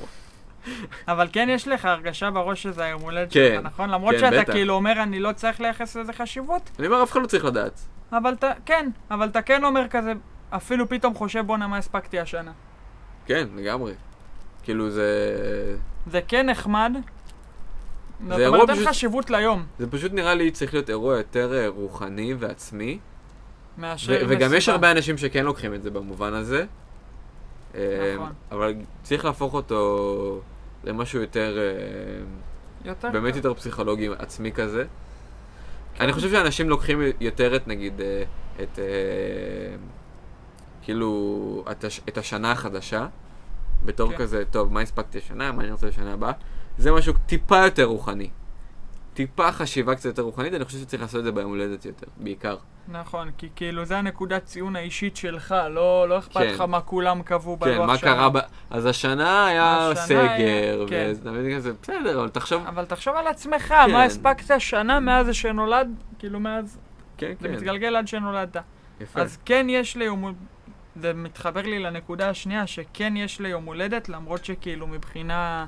אה, אבל כן יש לך הרגשה בראש שזה היום הולדת כן, שלך, נכון? למרות כן, שאתה בטח. כאילו אומר אני לא צריך לייחס לזה חשיבות, אני אומר, אף אחד לא צריך לדעת. אבל אתה, כן, אבל אתה כן אומר כזה, אפילו פתאום חושב בואנה מה הספקתי השנה. כן, לגמרי. כאילו, זה... זה כן נחמד. זאת אירוע אומרת, אין פשוט- חשיבות ליום. זה פשוט נראה לי צריך להיות אירוע יותר אה, רוחני ועצמי, מאשר ו- וגם יש מסיבה. הרבה אנשים שכן לוקחים את זה במובן הזה. אמ, נכון. אבל צריך להפוך אותו למשהו יותר, אמ, יותר באמת טוב. כן. יותר פסיכולוגי עצמי כזה. אני חושב שאנשים לוקחים יותר את נגיד, אה, את אה, כאילו, את הש- את השנה החדשה, בתור כן. כזה, טוב, מה הספקתי השנה, מה אני רוצה לשנה הבאה, זה משהו טיפה יותר רוחני. טיפה חשיבה קצת יותר רוחנית, אני חושב שצריך לעשות את זה ביום הולדת יותר, בעיקר. נכון, כי כאילו זה הנקודת ציון האישית שלך, לא, לא אכפת כן. לך מה כולם קבעו בלוח כן, מה שנה. קרה ב... אז השנה היה השנה סגר, היה- כן. וזה תמיד כזה, בסדר, אבל תחשוב... אבל תחשוב על עצמך, כן. מה הספקת שנה מאז שנולד, כאילו מאז, כן, זה כן, מתגלגל עד שנולדת. יפה. אז כן יש לי יום... זה מתחבר לי לנקודה השנייה, שכן יש לי יום הולדת, למרות שכאילו מבחינה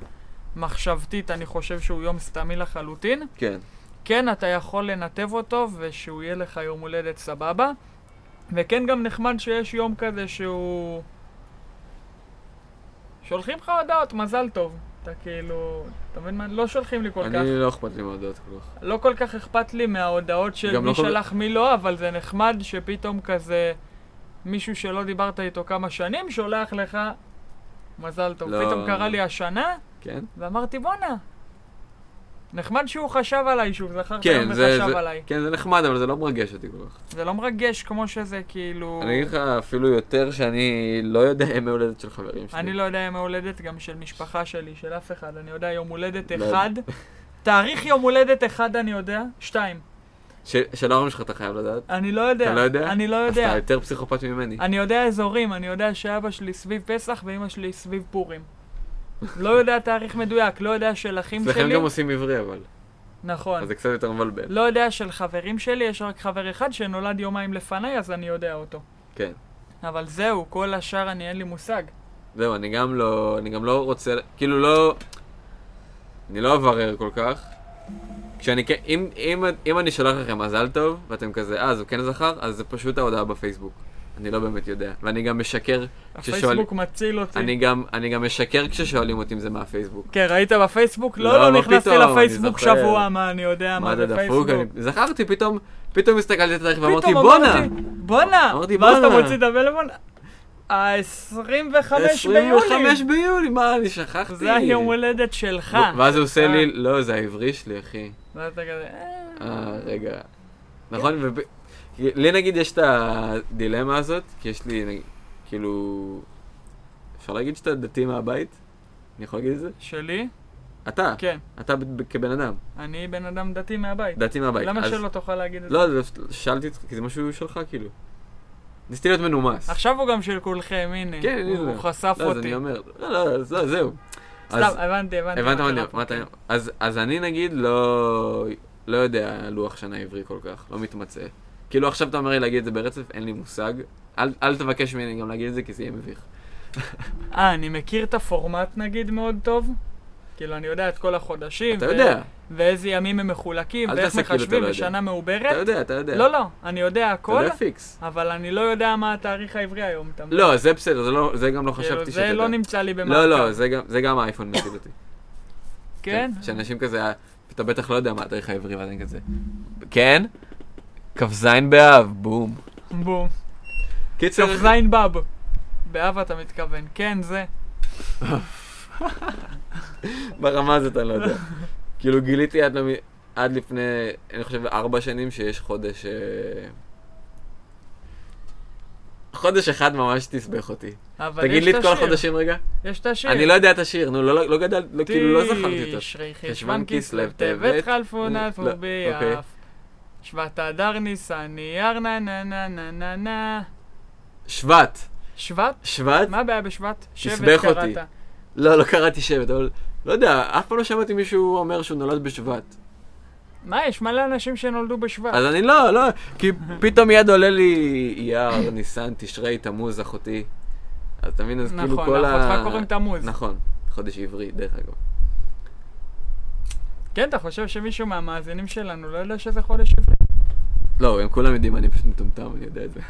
מחשבתית אני חושב שהוא יום סתמי לחלוטין. כן, כן, אתה יכול לנתב אותו, ושהוא יהיה לך יום הולדת סבבה. וכן גם נחמד שיש יום כזה שהוא... שולחים לך הודעות, מזל טוב. אתה כאילו... אתה מבין מה? לא שולחים לי כל כך. אני לא אכפת לי מהודעות כל כך. לא כל כך אכפת לי מההודעות של גם מי לא כל- שלח מי לא, אבל זה נחמד שפתאום כזה מישהו שלא דיברת איתו כמה שנים שולח לך מזל טוב. לא. פתאום קרה לי השנה, כן? ואמרתי בואנה. נחמד שהוא חשב עליי, שהוא זכר כן, היום זה- וחשב זה- לא עליי. כן, זה נחמד, אבל זה לא מרגש אותי כל כך. זה לא מרגש כמו שזה כאילו... אני אגיד לך אפילו יותר שאני לא יודע ימי הולדת של חברים שלי. אני לא יודע יום הולדת גם של משפחה שלי, של אף אחד. אני יודע יום הולדת לא. אחד. תאריך יום הולדת אחד אני יודע, שתיים. ש- של ההורים שלך אתה חייב לדעת. אני לא יודע. אתה לא יודע? אני לא אז יודע. אתה יותר פסיכופת ממני. אני יודע אזורים, אני יודע שאבא שלי סביב פסח ואימא שלי סביב פורים. לא יודע תאריך מדויק, לא יודע של אחים אצלכם שלי. גם עושים עברי אבל. נכון. אז זה קצת יותר מבלבל. לא יודע של חברים שלי, יש רק חבר אחד שנולד יומיים לפניי, אז אני יודע אותו. כן. אבל זהו, כל השאר אני אין לי מושג. זהו, אני גם לא, אני גם לא רוצה, כאילו לא, אני לא אברר כל כך. כשאני, כן- אם, אם, אם אני שולח לכם מזל טוב, ואתם כזה, אה, אז הוא כן זכר, אז זה פשוט ההודעה בפייסבוק. אני לא באמת יודע. ואני גם משקר, אוקיי. כששואל, הפייסבוק מציל אותי. אני גם, אני גם משקר כששואלים אותי אם זה מהפייסבוק. כן, ראית בפייסבוק? לא, לא, מה לא נכנסתי פתאום, אני לפייסבוק זוכר. שבוע, מה אני יודע, מה מה זה זה דפוק? פייסבוק. אני, זכרתי, פתאום, פתאום הסתכלתי על התאריך פתאום ואמרתי, בואנה! אמרתי, בואנה! אמרתי, ואז אתה בואנה. מוציא את הבלבון? ה-25 ביולי! 25 ביולי, מה, אני שכחתי. זה היום הולדת שלך. ואז הוא עושה לי, אה. לא, זה העברי שלי, אחי. ואז אתה כזה, "אה, אה, רגע. כן. נכון? וב... לי נגיד יש את הדילמה הזאת, כי יש לי, נגיד, כאילו... אפשר להגיד שאתה דתי מהבית? אני יכול להגיד את זה? שלי? אתה, כן. אתה ב- ב- כבן אדם, אני בן אדם דתי מהבית. דתי מהבית. למה אז- שלא תוכל להגיד את זה? לא, זה- שאלתי אותך, כי זה משהו שלך, כאילו. ניסיתי להיות מנומס. עכשיו הוא גם של כולכם, הנה. כן, הנה. הוא חשף לא, אז אותי. אני אומר, לא, לא, אז לא, זהו. אז- סתם, הבנתי, הבנתי. הבנת מה אני קרה אומר, פה, מה אתה כן. אומר. אז- אז אני נגיד לא לא יודע לוח שנה עברי כל כך, לא מתמצא. כאילו עכשיו אתה אומר לי להגיד את זה ברצף, אין לי מושג. אל- אל תבקש ממני גם להגיד את זה, כי זה יהיה מביך. אה, אני מכיר את הפורמט נגיד מאוד טוב. כאילו, אני יודע את כל החודשים. אתה כן, ו- יודע, ואיזה ימים הם מחולקים, אל ואיך תעשה כאילו אתה מחשבים, לא יודע. ושנה אתה מעוברת. יודע, אתה יודע. לא, לא, אני יודע אתה הכל, יודע פיקס. אבל אני לא יודע מה התאריך העברי היום. אתה מבין? לא, זה בסדר, זה לא- זה גם לא כאילו, חשבתי זה שתדע. לא נמצא לי במעקב. לא, לא, זה גם- זה גם האייפון מציג אותי. כן? שאנשים כזה, אה, אתה בטח לא יודע מה התאריך העברי, ואתה כזה. כן? כ"ז באב, בום. בום. קיצר, כ"ז בב. באב אתה מתכוון. כן, זה. ברמה הזאת אני לא יודע. כאילו גיליתי עד, למ... עד לפני, אני חושב, ארבע שנים שיש חודש... אה, חודש אחד ממש תסבך אותי. אבל תגיד יש לי את כל השיר. החודשים רגע. יש את השיר. אני לא יודע את השיר, נו, לא, לא גדל, לא, כאילו לא זכרתי אותו. תשרי חשוון חשוון כסלו, כסלו טבת, טבת חלפו לא, נטפו לא, אוקיי. ביעף. שבט אדר ניסן אייר נה נה נה נה נה נה. שבט. שבט? שבט? מה הבעיה בשבט? שבט תסבך אותי. קראת. לא, לא קראתי שבט, אבל לא יודע, אף פעם לא שמעתי מישהו אומר שהוא נולד בשבט. מה, יש מלא אנשים שנולדו בשבט. אז אני לא, לא, כי פתאום מיד עולה לי אייר, ניסן, תשרי, תמוז, אחותי. אז אתה מבין, אז כאילו נכון, כל ה... לאחותך קוראים תמוז. נכון, חודש עברי, דרך אגב. כן, אתה חושב שמישהו מהמאזינים שלנו לא יודע שזה חודש עברי? לא, הם כולם יודעים, אני פשוט מטומטם, אני יודע את זה.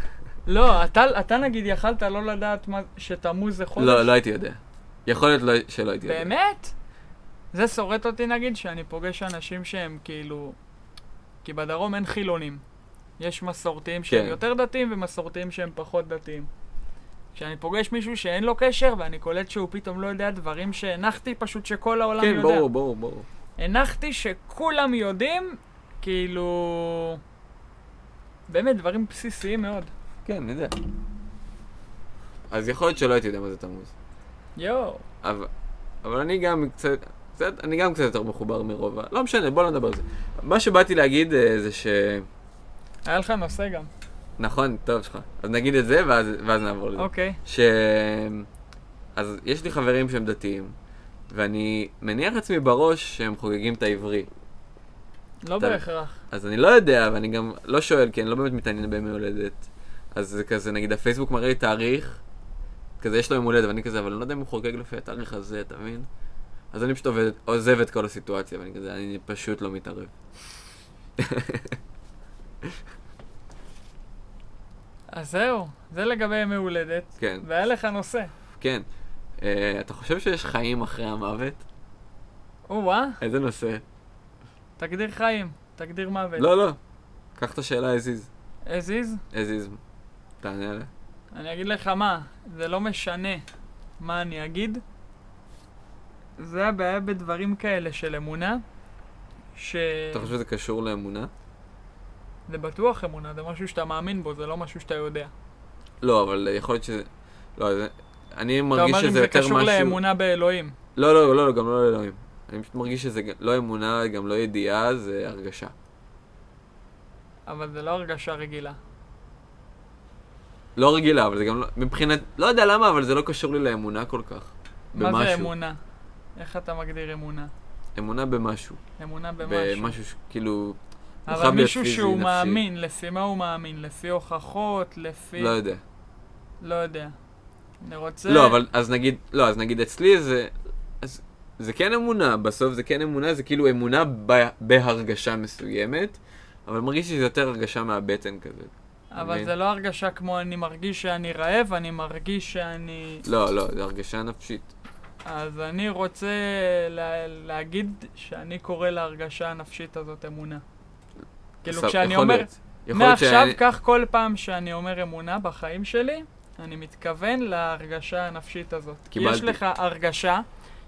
לא, אתה- אתה נגיד יכלת לא לדעת מה- שתמוז זה חודש? לא, לא הייתי יודע. יכול להיות לא- שלא הייתי יודע. באמת? זה שורט אותי נגיד, שאני פוגש אנשים שהם כאילו... כי בדרום אין חילונים. יש מסורתיים שהם כן. יותר דתיים ומסורתיים שהם פחות דתיים. כשאני פוגש מישהו שאין לו קשר, ואני קולט שהוא פתאום לא יודע דברים שהנחתי פשוט שכל העולם כן, יודע. ברור, ברור, ברור. הנחתי שכולם יודעים, כאילו... באמת, דברים בסיסיים מאוד. כן, אני יודע. אז יכול להיות שלא הייתי יודע מה זה תמוז. יואו. אבל, אבל אני גם קצת, קצת, אני גם קצת יותר מחובר מרוב ה... לא משנה, בוא לא נדבר על זה. מה שבאתי להגיד אה, זה ש... היה לך נושא גם. נכון, טוב שלך. אז נגיד את זה, ואז, ואז נעבור לזה. אוקיי. ש... אז יש לי חברים שהם דתיים, ואני מניח לעצמי בראש שהם חוגגים את העברי. לא אתה- בהכרח. אז אני לא יודע, ואני גם לא שואל, כי אני לא באמת מתעניין בימי הולדת. אז זה כזה, נגיד, הפייסבוק מראה לי תאריך, כזה יש לו יום הולדת, ואני כזה, אבל אני לא יודע אם הוא חוגג לפי התאריך הזה, אתה מבין? אז אני פשוט עובד, עוזב את כל הסיטואציה, ואני כזה, אני פשוט לא מתערב. אז זהו, זה לגבי ימי הולדת. כן, והיה לך נושא. כן. אה, אתה חושב שיש חיים אחרי המוות? או-אה, איזה נושא? תגדיר חיים, תגדיר מוות. לא, לא. קח את השאלה as is. as as is? is. תענה עליה. אני אגיד לך מה, זה לא משנה מה אני אגיד. זה הבעיה בדברים כאלה של אמונה, ש... אתה חושב שזה קשור לאמונה? זה בטוח אמונה, זה משהו שאתה מאמין בו, זה לא משהו שאתה יודע. לא, אבל יכול להיות שזה... לא, זה... אני אתה מרגיש אומר שזה אם לא, זה יותר קשור משהו... לאמונה באלוהים. לא, לא, לא, לא, גם לא לאלוהים. אני פשוט מרגיש שזה גם- לא אמונה, גם לא ידיעה, זה הרגשה. אבל זה לא הרגשה רגילה. לא רגילה, אבל זה גם לא... מבחינת... לא יודע למה, אבל זה לא קשור לי לאמונה כל כך. במשהו. מה זה אמונה? איך אתה מגדיר אמונה? אמונה במשהו. אמונה במשהו. במשהו כאילו, שכאילו... הוא חייב אבל להיות מישהו פיזי, שהוא נפשי. מאמין, לפי מה הוא מאמין? לפי הוכחות? לפי... לא יודע. לא יודע. אני רוצה... לא, אבל אז נגיד... לא, אז נגיד אצלי זה... אז... זה כן אמונה, בסוף זה כן אמונה, זה כאילו אמונה ב... בהרגשה מסוימת, אבל מרגיש לי שזה יותר הרגשה מהבטן כזה. אבל מבין? זה לא הרגשה כמו אני מרגיש שאני רעב, אני מרגיש שאני... לא, לא, זה הרגשה נפשית. אז אני רוצה לה... להגיד שאני קורא להרגשה הנפשית הזאת אמונה. כאילו סב- כשאני יכול אומר, להיות. יכול להיות מעכשיו שאני- כך כל פעם שאני אומר אמונה בחיים שלי, אני מתכוון להרגשה הנפשית הזאת. כי יש קיבלתי. לך הרגשה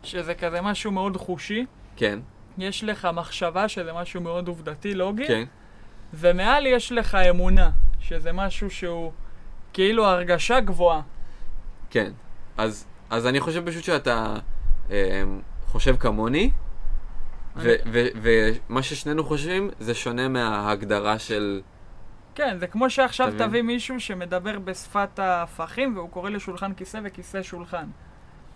שזה כזה משהו מאוד חושי, כן, יש לך מחשבה שזה משהו מאוד עובדתי, לוגי, כן. ומעל יש לך אמונה, שזה משהו שהוא כאילו הרגשה גבוהה. כן. אז, אז אני חושב פשוט שאתה אמ, חושב כמוני, אני- ו- ו- ומה ששנינו חושבים זה שונה מההגדרה של... כן, זה כמו שעכשיו אתה מבין? תביא מישהו שמדבר בשפת ההפכים והוא קורא לשולחן כיסא וכיסא שולחן.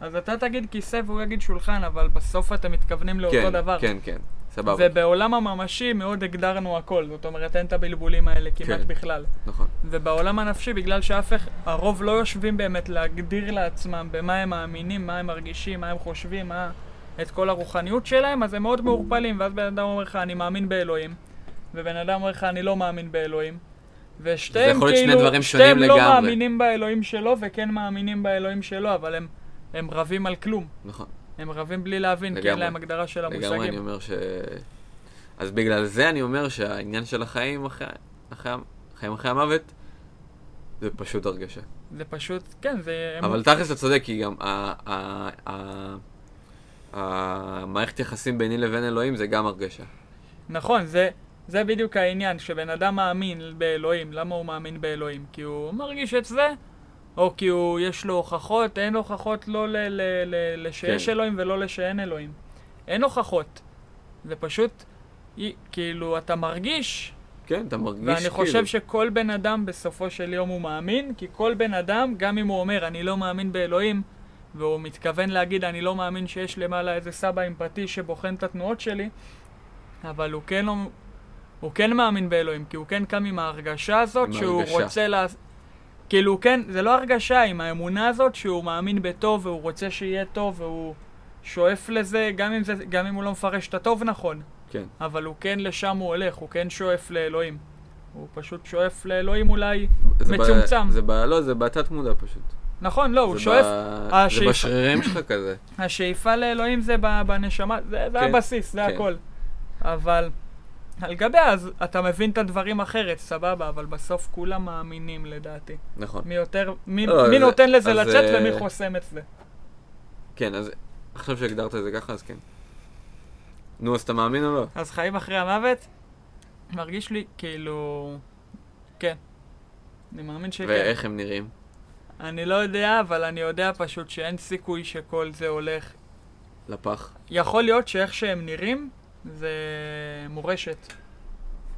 אז אתה תגיד כיסא והוא יגיד שולחן, אבל בסוף אתם מתכוונים לאותו כן, דבר. כן, כן, סבבה. ובעולם הממשי מאוד הגדרנו הכל, זאת אומרת אין את הבלבולים האלה כמעט כן. בכלל. נכון. ובעולם הנפשי, בגלל שאף אחד, הרוב לא יושבים באמת להגדיר לעצמם במה הם מאמינים, מה הם מרגישים, מה הם חושבים, מה... את כל הרוחניות שלהם, אז הם מאוד מעורפלים, ואז בן אדם אומר לך, אני מאמין באלוהים, ובן אדם אומר לך, אני לא מאמין באלוהים, זה ושתיהם יכול להיות שני כאילו, דברים שונים שתיהם לא לגמרי. מאמינים באלוהים שלו, וכן מאמינים באלוהים שלו, אבל הם, הם רבים על כלום, נכון. הם רבים בלי להבין, כי אין לגמרי. להם הגדרה של לגמרי אני המושגים. אומר ש... אז בגלל זה אני אומר שהעניין של החיים אחרי, אחרי, החיים אחרי המוות זה פשוט הרגשה. זה פשוט, כן, זה... אבל תכלס אתה צודק, כי גם ה- ה- ה- המערכת יחסים ביני לבין אלוהים זה גם הרגשה. נכון, זה, זה בדיוק העניין, שבן אדם מאמין באלוהים, למה הוא מאמין באלוהים? כי הוא מרגיש את זה, או כי הוא, יש לו הוכחות, אין הוכחות לא ל, ל, ל, לשיש כן. כן. אלוהים ולא לשאין אלוהים. אין הוכחות. זה פשוט, אי- כאילו, אתה מרגיש, כן, אתה מרגיש כאילו. ואני חושב שכל בן אדם בסופו של יום הוא מאמין, כי כל בן אדם, גם אם הוא אומר, אני לא מאמין באלוהים, והוא מתכוון להגיד, אני לא מאמין שיש למעלה איזה סבא אמפתי שבוחן את התנועות שלי, אבל הוא כן, לא- הוא כן מאמין באלוהים, כי הוא כן קם עם ההרגשה הזאת עם שהוא ההרגשה. רוצה לה... כאילו, הוא כן, זה לא הרגשה, עם האמונה הזאת שהוא מאמין בטוב, והוא רוצה שיהיה טוב, והוא שואף לזה, גם אם, זה, גם אם הוא לא מפרש את הטוב נכון. כן. אבל הוא כן לשם הוא הולך, הוא כן שואף לאלוהים. הוא פשוט שואף לאלוהים אולי... זה ב- מצומצם. זה ב... לא, זה בתת מודע פשוט. נכון, לא, הוא זה שואף... ב- זה השאיפה- בשרירים שלך כזה. השאיפה לאלוהים זה ב- בנשמה, זה, זה כן, הבסיס, זה כן. הכל. אבל על גביה, אז אתה מבין את הדברים אחרת, סבבה, אבל בסוף כולם מאמינים לדעתי. נכון. מי יותר, מי, לא, מי אז- נותן לזה אז, לצאת אה, ומי חוסם את זה. כן, אז עכשיו שהגדרת את זה ככה, אז כן. נו, אז אתה מאמין או לא? אז חיים אחרי המוות, מרגיש לי כאילו... כן. אני מאמין שכן. ואיך הם נראים? אני לא יודע, אבל אני יודע פשוט שאין סיכוי שכל זה הולך. לפח. יכול להיות שאיך שהם נראים, זה מורשת.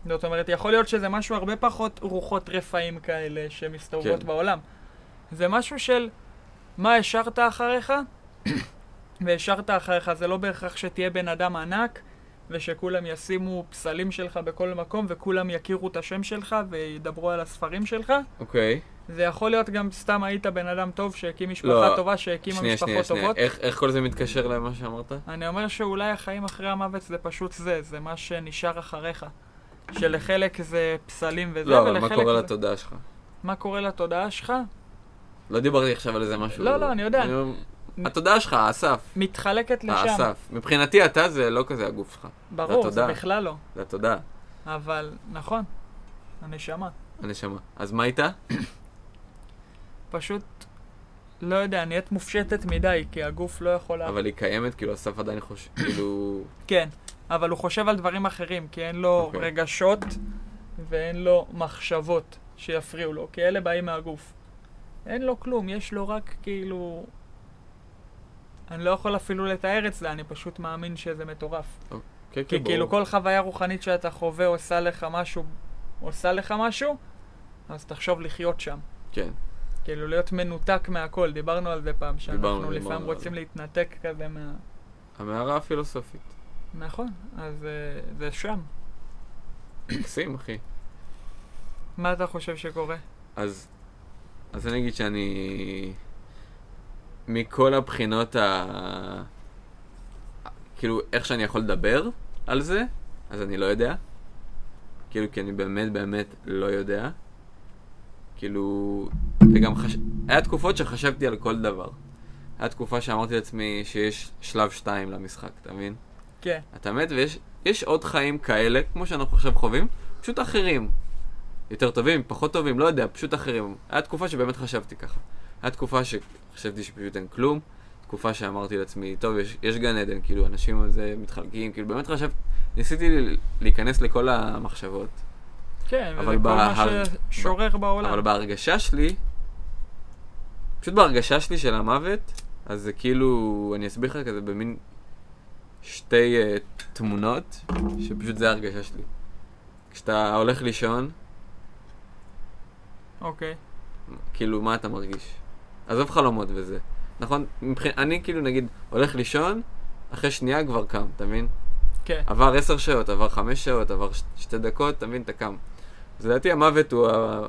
זאת אומרת, יכול להיות שזה משהו הרבה פחות רוחות רפאים כאלה שמסתובבות כן. כן. בעולם. זה משהו של מה השארת אחריך, והשארת אחריך זה לא בהכרח שתהיה בן אדם ענק, ושכולם ישימו פסלים שלך בכל מקום, וכולם יכירו את השם שלך, וידברו על הספרים שלך. אוקיי. זה יכול להיות גם סתם היית בן אדם טוב שהקים משפחה לא, טובה, שהקימה שנייה, משפחות שנייה, שנייה. טובות. איך איך כל זה מתקשר למה שאמרת? אני אומר שאולי החיים אחרי המוות זה פשוט זה, זה מה שנשאר אחריך. שלחלק זה פסלים וזה, לא, אבל ולחלק מה קורה זה... לתודעה שלך? מה קורה לתודעה שלך? לא דיברתי עכשיו על איזה משהו. לא, לא, אני יודע. אומר, התודעה שלך, האסף. מתחלקת אה, לשם. האסף. מבחינתי אתה זה לא כזה הגוף שלך. ברור, זה לתודעה. בכלל לא. זה התודעה. אבל, נכון, הנשמה. הנשמה. אז מה איתה? פשוט, לא יודע, נהיית מופשטת מדי, כי הגוף לא יכול... לה- אבל היא קיימת, כאילו אסף עדיין חושב, כאילו... כן, אבל הוא חושב על דברים אחרים, כי אין לו okay. אוקיי. רגשות ואין לו מחשבות שיפריעו לו, כי אלה באים מהגוף. אין לו כלום, יש לו רק כאילו... אני לא יכול אפילו לתאר את זה, אני פשוט מאמין שזה מטורף. כן, כי כן, כאילו ברור. כל חוויה רוחנית שאתה חווה עושה לך משהו, עושה לך משהו, אז תחשוב לחיות שם. כן. כאילו להיות מנותק מהכל, דיברנו על זה פעם, דיברנו, שאנחנו לפעמים דיברנו על רוצים זה. להתנתק כזה מה... המערה הפילוסופית. נכון, אז אה, זה שם. מקסים, אחי. מה אתה חושב שקורה? אז, אז אני אגיד שאני... מכל הבחינות ה... כאילו, איך שאני יכול לדבר על זה, אז אני לא יודע. כאילו, כי אני באמת באמת לא יודע. כאילו, וגם חש... היה תקופות שחשבתי על כל דבר. היה תקופה שאמרתי לעצמי שיש שלב שתיים למשחק, אתה מבין? כן. אתה מת ויש יש עוד חיים כאלה, כמו שאנחנו עכשיו חווים, פשוט אחרים. יותר טובים, פחות טובים, לא יודע, פשוט אחרים. היה תקופה שבאמת חשבתי ככה. היה תקופה שחשבתי שפשוט אין כלום, תקופה שאמרתי לעצמי, טוב, יש, יש גן עדן, כאילו, אנשים על זה מתחלקים, כאילו, באמת חשבתי, ניסיתי ל- להיכנס לכל המחשבות, כן, אבל וזה כל מה בהר- ששורר בעולם. אבל בהרגשה שלי, פשוט בהרגשה שלי של המוות, אז זה כאילו, אני אסביר לך כזה במין שתי אה, תמונות, שפשוט זה ההרגשה שלי. כשאתה הולך לישון, אוקיי. כאילו, מה אתה מרגיש? עזוב חלומות וזה. נכון? מבחינ... אני כאילו, נגיד, הולך לישון, אחרי שנייה כבר קם, אתה מבין? כן. עבר עשר שעות, עבר חמש שעות, עבר ש... שתי דקות, אתה מבין? אתה קם. אז לדעתי המוות הוא, ה...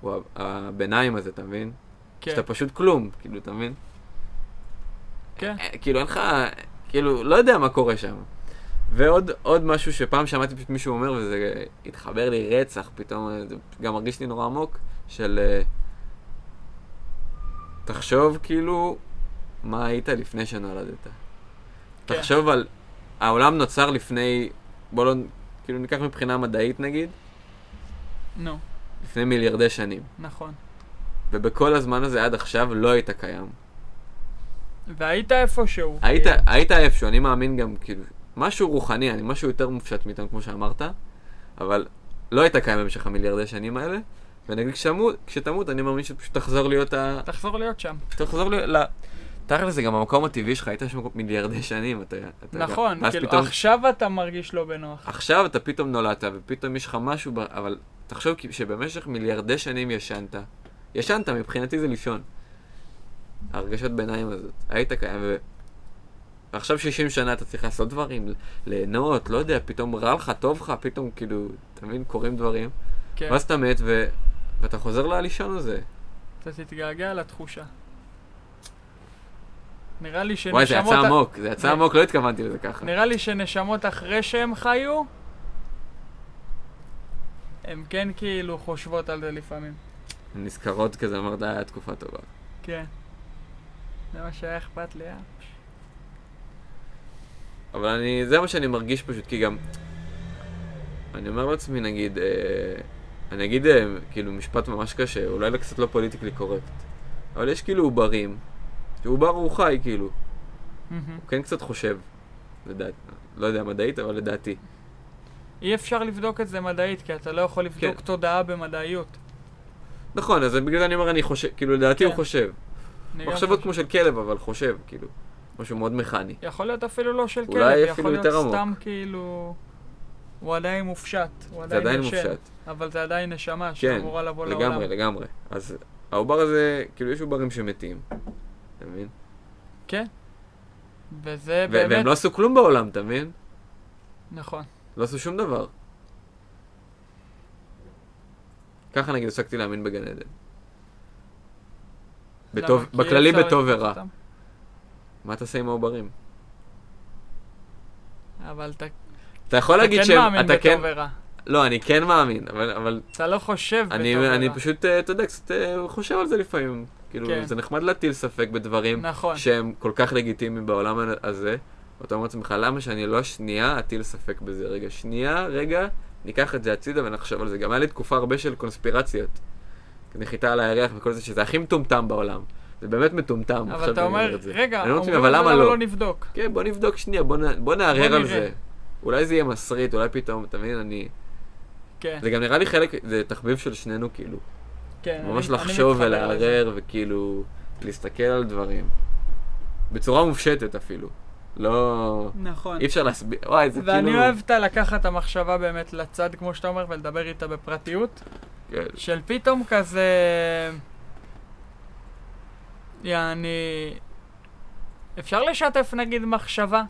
הוא ה... הביניים הזה, אתה מבין? כן. שאתה פשוט כלום, כאילו, אתה מבין? כן. אה, כאילו, אין לך, כאילו, לא יודע מה קורה שם. ועוד עוד משהו שפעם שמעתי פשוט מישהו אומר, וזה התחבר לי רצח, פתאום אה, זה גם מרגיש לי נורא עמוק, של... אה, תחשוב כאילו, מה היית לפני שנולדת. כן. תחשוב על... העולם נוצר לפני, בוא לא... כאילו ניקח מבחינה מדעית נגיד, נו, לפני מיליארדי שנים. נכון. ובכל הזמן הזה עד עכשיו לא היית קיים. והיית איפשהו. היית, כאילו. היית איפשהו, אני מאמין גם, כאילו, משהו רוחני, אני משהו יותר מופשט מאיתנו, כמו שאמרת, אבל לא היית קיים במשך המיליארדי שנים האלה, ונגיד כשתמות, כשתמות אני מאמין שפשוט תחזור להיות ה... תחזור להיות שם. תחזור להיות ל... תכל'ס זה גם המקום הטבעי שלך, היית שם מיליארדי שנים, אתה אתה יודע. נכון, ואז כאילו פתאום- עכשיו אתה מרגיש לא בנוח. עכשיו אתה פתאום נולדת, ופתאום יש לך משהו, ב- אבל תחשוב כי- שבמשך מיליארדי שנים ישנת. ישנת, מבחינתי זה לישון. הרגשת ביניים הזאת. היית קיים, ו... ועכשיו 60 שנה אתה צריך לעשות דברים, ל- ליהנות, לא יודע, פתאום רע לך, טוב לך, פתאום כאילו, אתה מבין, קורים דברים. כן. ואז אתה מת, ו... ואתה חוזר ללישון הזה. אתה תתגעגע לתחושה. נראה לי שנשמות... וואי, זה יצא כן, ה- עמוק, זה יצא נ- עמוק, לא התכוונתי לזה ככה. נראה לי שנשמות אחרי שהם חיו, הם כן כאילו חושבות על זה לפעמים. הן נזכרות כזה, אמרת, "אה, תקופה טובה. כן. זה מה שהיה אכפת לי, אה? אבל אני, זה מה שאני מרגיש פשוט, כי גם אני אומר לעצמי, נגיד, אה, אני אגיד אה, כאילו משפט ממש קשה, אולי קצת לא פוליטיקלי קורקט, אבל יש כאילו עוברים, שעובר הוא חי כאילו, הוא מהמם. כן קצת חושב, לדעתי, לא יודע מדעית, אבל לדעתי. אי אפשר לבדוק את זה מדעית, כי אתה לא יכול לבדוק כן. תודעה במדעיות. נכון, אז בגלל זה אני אומר, אני חושב, כאילו לדעתי כן. הוא חושב. אני גם מחשבות חושב- כמו של כלב, אבל חושב, כאילו, משהו מאוד מכני. יכול להיות אפילו לא של כלב, אולי אפילו יכול להיות יותר עמוק. סתם כאילו... הוא עדיין מופשט, הוא זה עדיין, עדיין נשם, מופשט. אבל זה עדיין נשמה כן, שאמורה לבוא לעולם. לגמרי, לגמרי. אז העובר הזה, כאילו יש עוברים שמתים, אתה מבין? כן. וזה ו- באמת... והם לא עשו כלום בעולם, אתה מבין? נכון. לא עשו שום דבר. ככה נגיד הפסקתי להאמין בגן עדן. בטוב, למה? כי אי בכללי אפשר בטוב לבדוק ורע. אותם. מה תעשה עם העוברים? אבל אתה אתה יכול אתה להגיד כן שהם, מאמין אתה כן, בטוב ורע. לא, אני כן מאמין, אבל, אבל אתה לא חושב אני, בטוב ורע. אני פשוט, אה, אתה יודע, קצת אה, חושב על זה לפעמים. כאילו, כן. זה נחמד להטיל ספק בדברים נכון. שהם כל כך לגיטימיים בעולם הזה. ואתה אומר לעצמך, למה שאני לא שנייה אטיל ספק בזה? רגע, שנייה, רגע, ניקח את זה הצידה ונחשוב על זה. גם היה לי תקופה הרבה של קונספירציות. נחיתה על הירח וכל זה, שזה הכי מטומטם בעולם. זה באמת מטומטם. אבל עכשיו אתה אני אומר, את זה. רגע, אני לא אומרים מבין, את זה אבל למה למה לא לא? נבדוק. כן, בוא נבדוק שנייה, בוא נ- בוא נערער בוא על נראה. זה. אולי זה יהיה מסריט, אולי פתאום, אתה מבין, אני... כן, זה גם נראה לי חלק, זה תחביב של שנינו, כאילו. כן. ממש אני- אני לחשוב מתחבר לזה. ולערער וכאילו להסתכל על דברים. בצורה מופשטת אפילו. לא... נכון. אי אפשר להסביר, וואי, זה כאילו... ואני אוהב את הלקחת המחשבה באמת לצד, כמו שאתה אומר, ולדבר איתה בפרטיות, כן, של פתאום כזה... יעני... אפשר לשתף נגיד מחשבה?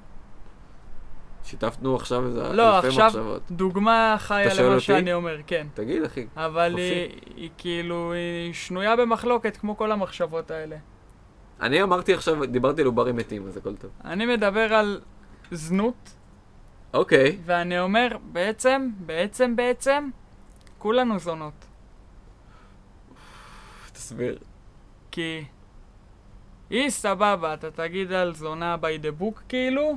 שיתפנו עכשיו איזה לא, אלפי עכשיו- מחשבות. דוגמה אתה חיה שואל למה אותי? שאני אומר, כן. תגיד, אחי. אבל חופשי. היא, היא כאילו, היא שנויה במחלוקת כמו כל המחשבות האלה. אני אמרתי עכשיו, דיברתי על עוברים מתים, אז הכל טוב. אני מדבר על זנות, אוקיי. ואני אומר, בעצם, בעצם, בעצם, כולנו זונות. תסביר. כי היא סבבה, אתה תגיד על זונה by the book כאילו,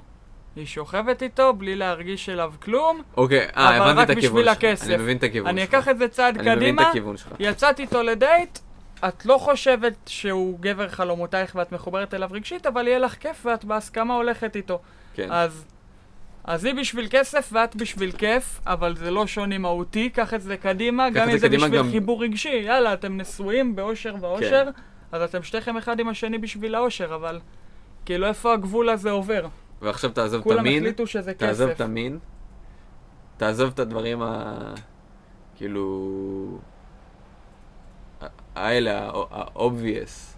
היא שוכבת איתו בלי להרגיש אליו כלום, אוקיי, אה, אבל הבנתי רק את הכיוון בשביל שלך. הכסף. אני מבין את הכיוון אני שלך. אקח את זה צעד אני מבין את קדימה, הכיוון שלך. יצאת איתו לדייט, את לא חושבת שהוא גבר חלומותייך ואת מחוברת אליו רגשית, אבל יהיה לך כיף ואת בהסכמה הולכת איתו. כן. אז, אז היא בשביל כסף ואת בשביל כיף, אבל זה לא שוני מהותי, קח את זה קדימה, קח גם את זה אם זה קדימה, בשביל גם- כן. חיבור רגשי, יאללה, אתם נשואים באושר ואושר, אז אתם שתיכם אחד עם השני בשביל האושר, אבל כאילו איפה הגבול הזה עובר? ועכשיו תעזוב את כולם המין. החליטו שזה תעזוב את כסף. המין, תעזוב את הדברים ה... כאילו... ה- האלה, ה-obvious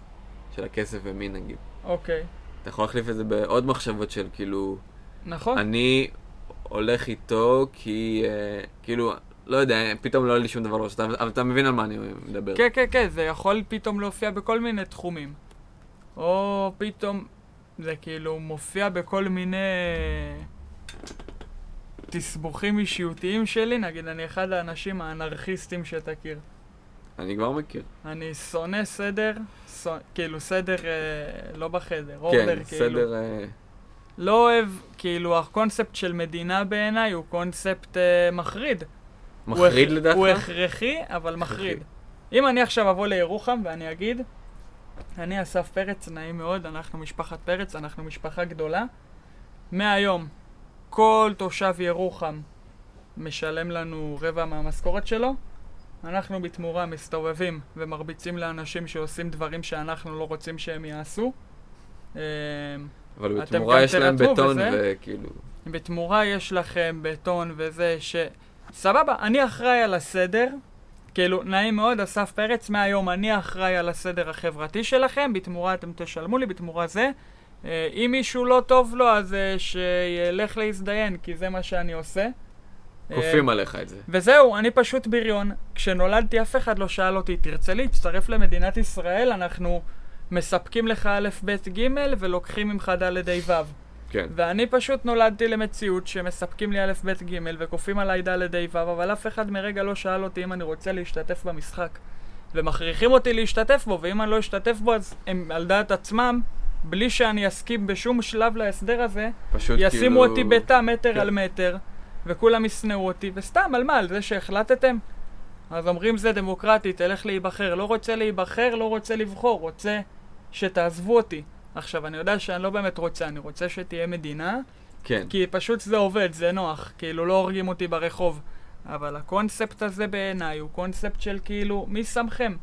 של הכסף ומין נגיד. אוקיי, אתה יכול להחליף את זה בעוד מחשבות של כאילו, נכון? אני הולך איתו כי אה, כאילו, לא יודע, פתאום לא עולה לי שום דבר ראש, אבל אתה מבין על מה אני מדבר. כן, כן, כן, זה יכול פתאום להופיע בכל מיני תחומים. או פתאום, זה כאילו מופיע בכל מיני תסבוכים אישיותיים שלי, נגיד אני אחד האנשים האנרכיסטים שתכיר. אני כבר מכיר. אני שונא סדר, שונא, כאילו סדר אה, לא בחדר, אורדר כן, כאילו. סדר. סדר... אה, לא אוהב, כאילו הקונספט של מדינה בעיניי הוא קונספט אה, מחריד. הוא מחריד הכ- לדעתך? הוא הכרחי, אבל מחריד. אם אני עכשיו אבוא לירוחם ואני אגיד, אני אסף פרץ, נעים מאוד, אנחנו משפחת פרץ, אנחנו משפחה גדולה. מהיום, כל תושב ירוחם משלם לנו רבע מהמשכורת שלו. אנחנו בתמורה מסתובבים ומרביצים לאנשים שעושים דברים שאנחנו לא רוצים שהם יעשו. אה, אבל אתם בתמורה גם יש להם תרתמו בטון וזה? וכאילו... בתמורה יש לכם בטון וזה ש... סבבה, אני אחראי על הסדר. כאילו, נעים מאוד, אסף פרץ, מהיום אני אחראי על הסדר החברתי שלכם, בתמורה אתם תשלמו לי, בתמורה זה. אה, אם מישהו לא טוב לו, אז אה, שילך להזדיין, כי זה מה שאני עושה. אה, כופים עליך את זה. וזהו, אני פשוט בריון. כשנולדתי אף אחד לא שאל אותי, תרצה להצטרף למדינת ישראל, אנחנו מספקים לך א', ב', ג', ולוקחים ממך ד', ה', ו'. כן. ואני פשוט נולדתי למציאות שמספקים לי א', ב', ג', וכופים עליי ד', ה', ו', אבל אף אחד מרגע לא שאל אותי אם אני רוצה להשתתף במשחק. ומכריחים אותי להשתתף בו, ואם אני לא אשתתף בו, אז הם על דעת עצמם, בלי שאני אסכים בשום שלב להסדר הזה, פשוט כאילו... ישימו אותי בתא מטר כן. על מטר, וכולם ישנאו אותי, וסתם, על מה? על זה שהחלטתם? אז אומרים זה דמוקרטי, תלך להיבחר. לא רוצה להיבחר, לא רוצה לבחור, רוצה שתעזבו אותי. עכשיו, אני יודע שאני לא באמת רוצה, אני רוצה שתהיה מדינה, כן. כי פשוט זה עובד, זה נוח, כאילו לא הורגים אותי ברחוב. אבל הקונספט הזה בעיניי הוא קונספט של כאילו, מי שמכם?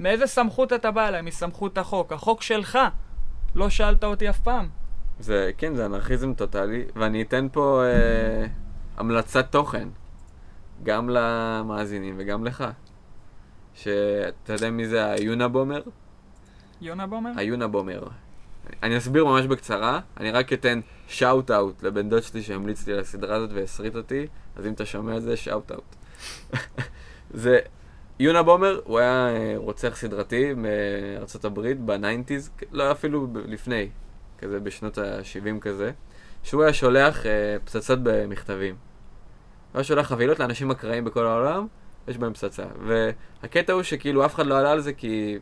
מאיזה סמכות אתה בא אליי? מסמכות החוק. החוק שלך. לא שאלת אותי אף פעם. זה, כן, זה אנרכיזם טוטאלי, ואני אתן פה אה, המלצת תוכן, גם למאזינים וגם לך. שאתה יודע מי זה היונבומר? יונה בומר? היונבומר. אני אסביר ממש בקצרה, אני רק אתן שאוט אאוט לבן דוד שלי שהמליץ לי על הסדרה הזאת והסריט אותי, אז אם אתה שומע את זה, שאוט אאוט. זה יונה בומר, הוא היה אה, רוצח סדרתי מארצות הברית בניינטיז, לא אפילו ב- לפני, כזה בשנות ה-70 כזה, שהוא היה שולח אה, פצצות במכתבים. הוא היה שולח חבילות לאנשים אקראיים בכל העולם, יש בהם פצצה. והקטע הוא שכאילו אף אחד לא עלה על זה כי...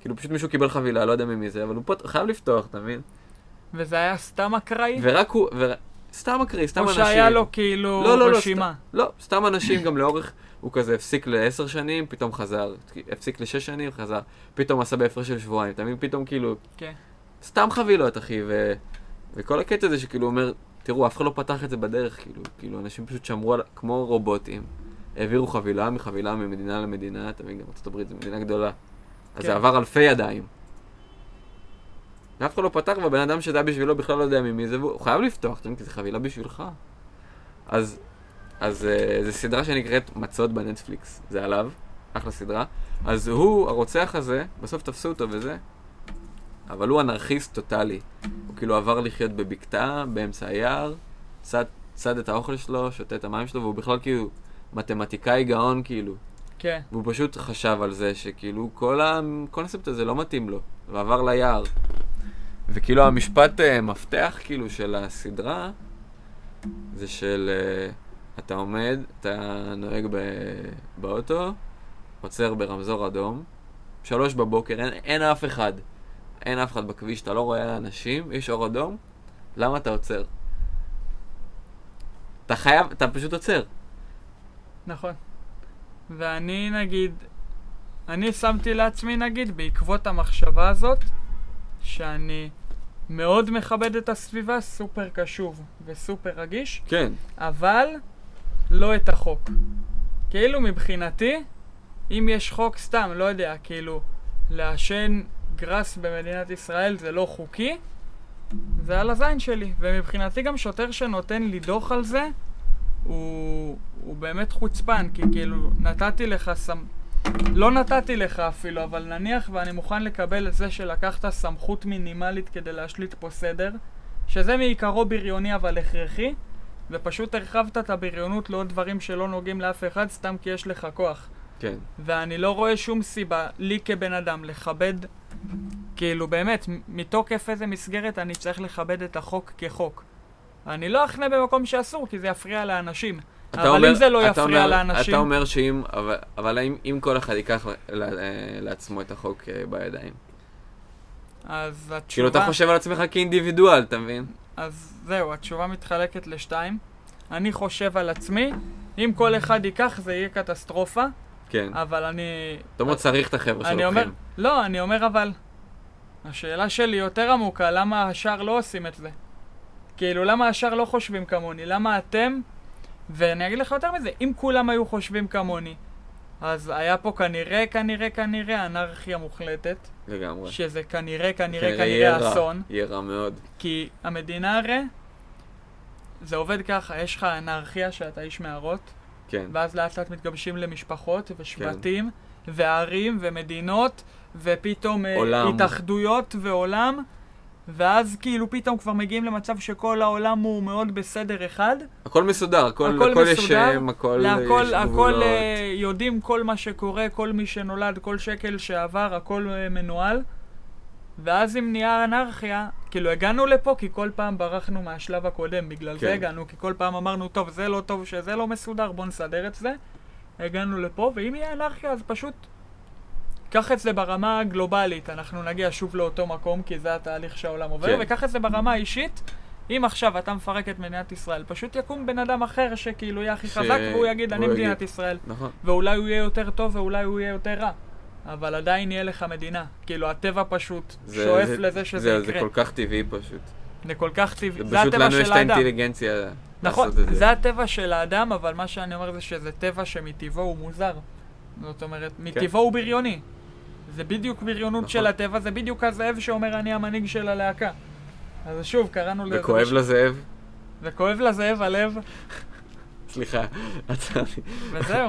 כאילו פשוט מישהו קיבל חבילה, לא יודע ממי זה, אבל הוא פה חייב לפתוח, אתה מבין? וזה היה סתם אקראי? ורק הוא, ור... סתם מקריא, סתם או אנשים. שהיה לו כאילו לא, לא, לא, רשימה? סתם, לא, סתם אנשים גם לאורך, הוא כזה הפסיק לעשר שנים, פתאום חזר, הפסיק לשש שנים, חזר, פתאום עשה בהפרש של שבועיים, אתה מבין? פתאום כאילו, כן. סתם חבילות, אחי, ו... וכל הקטע הזה שכאילו הוא אומר, תראו, אף אחד לא פתח את זה בדרך, כאילו, כאילו, אנשים פשוט שמרו על, כמו רובוטים, העבירו חבילה מחבילה ממדינה למדינה, אתה מבין, גם ארה"ב זו מדינה גדולה. אז זה כן. עבר אלפי ידיים. ואף אחד לא פתח, והבן אדם שזה היה בשבילו בכלל לא יודע ממי זה, והוא חייב לפתוח, אתה מבין, כי זו חבילה בשבילך. אז, אז uh, זו סדרה שנקראת מצות בנטפליקס, זה עליו, אחלה סדרה. אז הוא, הרוצח הזה, בסוף תפסו אותו וזה, אבל הוא אנרכיסט טוטאלי. הוא כאילו עבר לחיות בבקתה, באמצע היער, צד, צד את האוכל שלו, שותה את המים שלו, והוא בכלל כאילו מתמטיקאי גאון כאילו. כן. והוא פשוט חשב על זה שכאילו כל הקונספט הזה לא מתאים לו, ועבר ליער. וכאילו המשפט אה, מפתח כאילו של הסדרה, זה של אה, אתה עומד, אתה נוהג ב... באוטו, עוצר ברמזור אדום, שלוש בבוקר, אין, אין אף אחד. אין אף אחד בכביש, אתה לא רואה אנשים, יש אור אדום, למה אתה עוצר? אתה חייב, אתה פשוט עוצר. נכון. ואני נגיד, אני שמתי לעצמי נגיד, בעקבות המחשבה הזאת, שאני מאוד מכבד את הסביבה, סופר קשוב וסופר רגיש, כן. אבל לא את החוק. כאילו מבחינתי, אם יש חוק סתם, לא יודע, כאילו, לעשן גראס במדינת ישראל זה לא חוקי, זה על הזין שלי. ומבחינתי גם שוטר שנותן לי דוח על זה, הוא, הוא באמת חוצפן, כי כאילו, נתתי לך סמ... לא נתתי לך אפילו, אבל נניח ואני מוכן לקבל את זה שלקחת סמכות מינימלית כדי להשליט פה סדר, שזה מעיקרו בריוני אבל הכרחי, ופשוט הרחבת את הבריונות לעוד דברים שלא נוגעים לאף אחד סתם כי יש לך כוח. כן. ואני לא רואה שום סיבה, לי כבן אדם, לכבד, כאילו באמת, מ- מתוקף איזה מסגרת אני צריך לכבד את החוק כחוק. אני לא אחנה במקום שאסור, כי זה יפריע לאנשים. אתה אבל אם זה לא אתה יפריע אומר- לאנשים... אתה אומר שאם, אבל, אבל אם, אם כל אחד ייקח ל- אה, לעצמו את החוק אה, בידיים. אז כאילו, התשובה... אתה חושב על עצמך כאינדיבידואל, אתה מבין? אז זהו, התשובה מתחלקת לשתיים. אני חושב על עצמי, אם כל אחד ייקח זה יהיה קטסטרופה, כן. אבל אני... אתה אומר, צריך את החבר'ה אה, אני אומר... שלוקחים. לא, אני אומר אבל. השאלה שלי יותר עמוקה, למה השאר לא עושים את זה? כאילו, למה השאר לא חושבים כמוני? למה אתם... ואני אגיד לך יותר מזה, אם כולם היו חושבים כמוני, אז היה פה כנראה, כנראה, כנראה אנרכיה מוחלטת, לגמרי. שזה כנראה, כנראה, כנראה יהיה כנראה רע. אסון. יהיה רע מאוד. כי המדינה הרי, זה עובד ככה, יש לך אנרכיה שאתה איש מערות, כן. ואז לאט לאט מתגבשים למשפחות ושבטים, כן. וערים ומדינות, ופתאום אה, עולם. התאחדויות ועולם, ואז כאילו פתאום כבר מגיעים למצב שכל העולם הוא מאוד בסדר אחד, הכל מסודר, הכל הכל הכל יש מסודר, שם, הכל אה, יש להכל, הכל גבולות. אה, יודעים כל מה שקורה, כל מי שנולד, כל שקל שעבר, הכל אה, מנוהל. ואז אם נהיה אנרכיה, כאילו הגענו לפה כי כל פעם ברחנו מהשלב הקודם, בגלל כן. זה הגענו, כי כל פעם אמרנו, טוב, זה לא טוב שזה לא מסודר, בוא נסדר את זה. הגענו לפה, ואם יהיה אנרכיה אז פשוט קח את זה ברמה הגלובלית, אנחנו נגיע שוב לאותו מקום, כי זה התהליך שהעולם עובר, כן. וקח את זה ברמה האישית, אם עכשיו אתה מפרק את מדינת ישראל, פשוט יקום בן אדם אחר שכאילו יהיה הכי חזק, והוא יגיד, אני והוא מדינת יגיד." ישראל. נכון. ואולי הוא יהיה יותר טוב ואולי הוא יהיה יותר רע. אבל עדיין יהיה לך מדינה. כאילו, הטבע פשוט זה- שואף זה- לזה שזה זה- זה יקרה. כל כך טבעי פשוט. זה כל כך טבעי. זה זה פשוט הטבע לנו יש של את האדם. האינטליגנציה נכון, לעשות את זה זה. הטבע של האדם, אבל מה שאני אומר זה שזה טבע שמטבעו הוא מוזר. זאת אומרת, מטבעו הוא בריוני. זה בדיוק בריונות כן. נכון. של הטבע, זה בדיוק הזאב שאומר אני המנהיג של הלהקה. אז שוב, קראנו לזה... וכואב לזאב. וכואב לזאב הלב, סליחה, עצרתי. וזהו.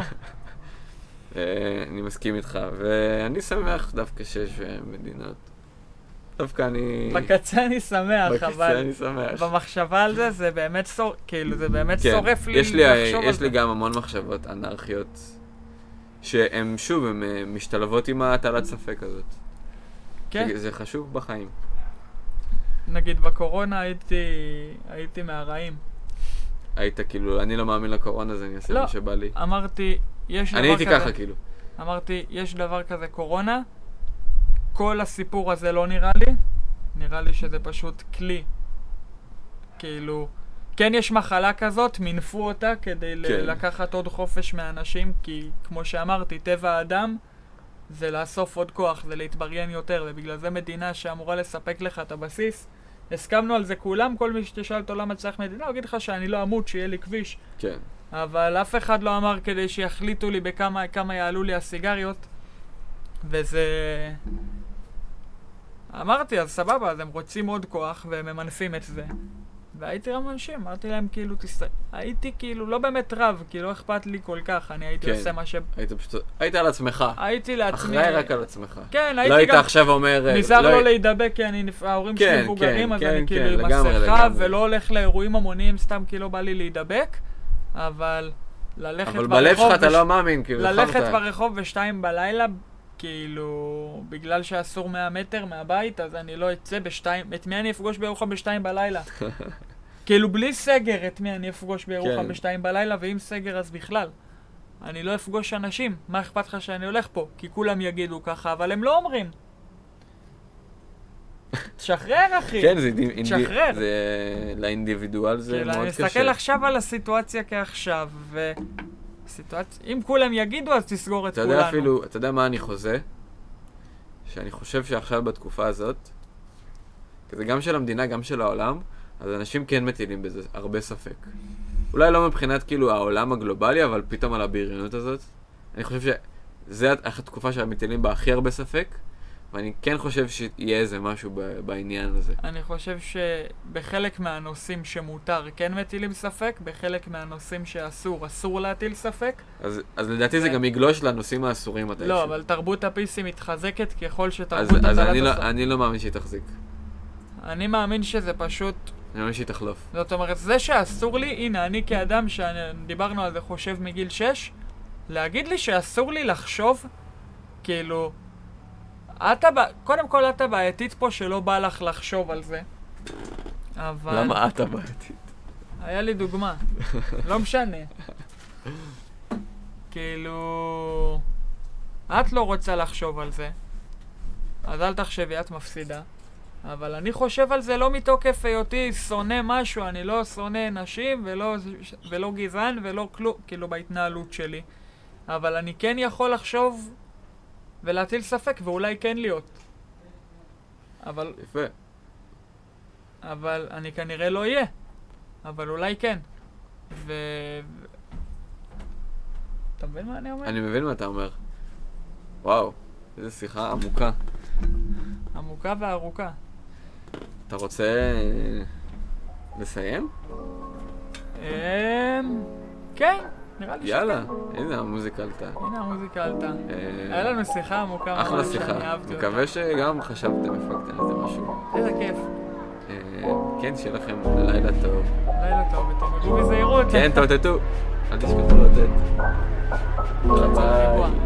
אה, אני מסכים איתך, ואני שמח דווקא שיש אה, מדינות. דווקא אני... בקצה אני שמח, בקצה אבל... אני שמח. במחשבה על זה, זה באמת שור... כאילו, זה באמת כן, שורף לי יש לי, אה, לחשוב על יש זה. לי גם המון מחשבות אנרכיות, שהן שוב, הן אה, משתלבות עם הטלת ספק הזאת. כן, זה חשוב בחיים. נגיד בקורונה הייתי, הייתי מהרעים. היית כאילו, אני לא מאמין לקורונה, אז אני אעשה לא. מה שבא לי. אמרתי, יש דבר אני הייתי כזה, ככה כאילו. אמרתי, יש דבר כזה קורונה, כל הסיפור הזה לא נראה לי, נראה לי שזה פשוט כלי. כאילו, כן יש מחלה כזאת, מינפו אותה כדי ל- כן. לקחת עוד חופש מהאנשים, כי כמו שאמרתי, טבע האדם זה לאסוף עוד כוח, זה להתבריין יותר, ובגלל זה מדינה שאמורה לספק לך את הבסיס. הסכמנו על זה כולם, כל מי שתשאל אותו למה צריך מדינה, הוא יגיד לך שאני לא אמות, שיהיה לי כביש. כן. אבל אף אחד לא אמר כדי שיחליטו לי בכמה כמה יעלו לי הסיגריות, וזה... אמרתי, אז סבבה, אז הם רוצים עוד כוח, והם ממנפים את זה. והייתי רב אנשים, אמרתי להם כאילו, תסת... הייתי כאילו לא באמת רב, כי לא אכפת לי כל כך, אני הייתי כן. עושה מה ש... היית פשוט, היית על עצמך. הייתי לעצמי... אחראי רק על עצמך. כן, לא הייתי היית גם... עכשיו אומר... אה, נזהר לא הי- להידבק, כי אני, נפ- ההורים כן, שלי כן, מבוגרים, אז כן, אני כן, כאילו עם לגמרי, מסכה, לגמרי. ולא הולך לאירועים המוניים סתם כי לא בא לי להידבק, אבל ללכת אבל ברחוב... בלב שלך אתה בש- לא מאמין, כאילו, ללכת חרטא. ברחוב בשתיים בלילה, כאילו, בגלל שאסור 100 מטר מהבית, אז אני לא אצא בשתיים, את מי אני אפגוש בירוחם בשתיים בלילה? כאילו, בלי סגר, את מי אני אפגוש בירוחם כן. בשתיים בלילה, ועם סגר אז בכלל. אני לא אפגוש אנשים, מה אכפת לך שאני הולך פה? כי כולם יגידו ככה, אבל הם לא אומרים. תשחרר, אחי. כן, זה, אינדי- אינדי- תשחרר. זה לאינדיבידואל זה כאילו, מאוד אני קשה. מסתכל עכשיו על הסיטואציה כעכשיו, ו... סיטואציה... אם כולם יגידו, אז תסגור את אתה כולנו. יודע אפילו, אתה יודע מה אני חוזה? שאני חושב שעכשיו בתקופה הזאת, כי זה גם של המדינה, גם של העולם, אז אנשים כן מטילים בזה הרבה ספק. אולי לא מבחינת כאילו העולם הגלובלי, אבל פתאום על הבריונות הזאת. אני חושב שזו התקופה שמטילים בה הכי הרבה ספק, ואני כן חושב שיהיה איזה משהו ב- בעניין הזה. אני חושב שבחלק מהנושאים שמותר כן מטילים ספק, בחלק מהנושאים שאסור, אסור להטיל ספק. אז, אז לדעתי זה כן. גם יגלוש לנושאים האסורים מתישהו. לא, אבל תרבות הפיסי מתחזקת ככל אז, שתרבות אז הטלת אני, לא, הספק. אני לא מאמין שהיא תחזיק. אני מאמין שזה פשוט... אני מאמין שהיא תחלוף. זאת אומרת, זה שאסור לי, הנה, אני כאדם שדיברנו על זה חושב מגיל 6, להגיד לי שאסור לי לחשוב, כאילו... את הבע... קודם כל, את הבעייתית פה שלא בא לך לחשוב על זה. אבל... למה את הבעייתית? היה לי דוגמה. לא משנה. כאילו... את לא רוצה לחשוב על זה, אז אל תחשבי, את מפסידה. אבל אני חושב על זה לא מתוקף היותי שונא משהו, אני לא שונא נשים ולא, ולא גזען ולא כלום, כאילו בהתנהלות שלי. אבל אני כן יכול לחשוב ולהטיל ספק ואולי כן להיות. אבל יפה. אבל אני כנראה לא אהיה. אבל אולי כן. ו... ו- אתה מבין מה אני אומר? אני מבין מה אתה אומר. וואו, איזו שיחה עמוקה. עמוקה וארוכה. אתה רוצה אה, לסיים? אמ... כן, נראה לי יאללה, הנה המוזיקה עלתה. הנה המוזיקה עלתה. אה, היה לנו שיחה עמוקה ממש, אחלה שאני שיחה. אהבתי אותה. מקווה שגם חשבתם, הפקתם איזה משהו. איזה כיף. אה, כן, שיהיה לכם לילה טוב. לילה טוב, ותאמרו בזהירות. כן, תאותתו. אל תשכחו לתת. צריך ביי. ריבוע.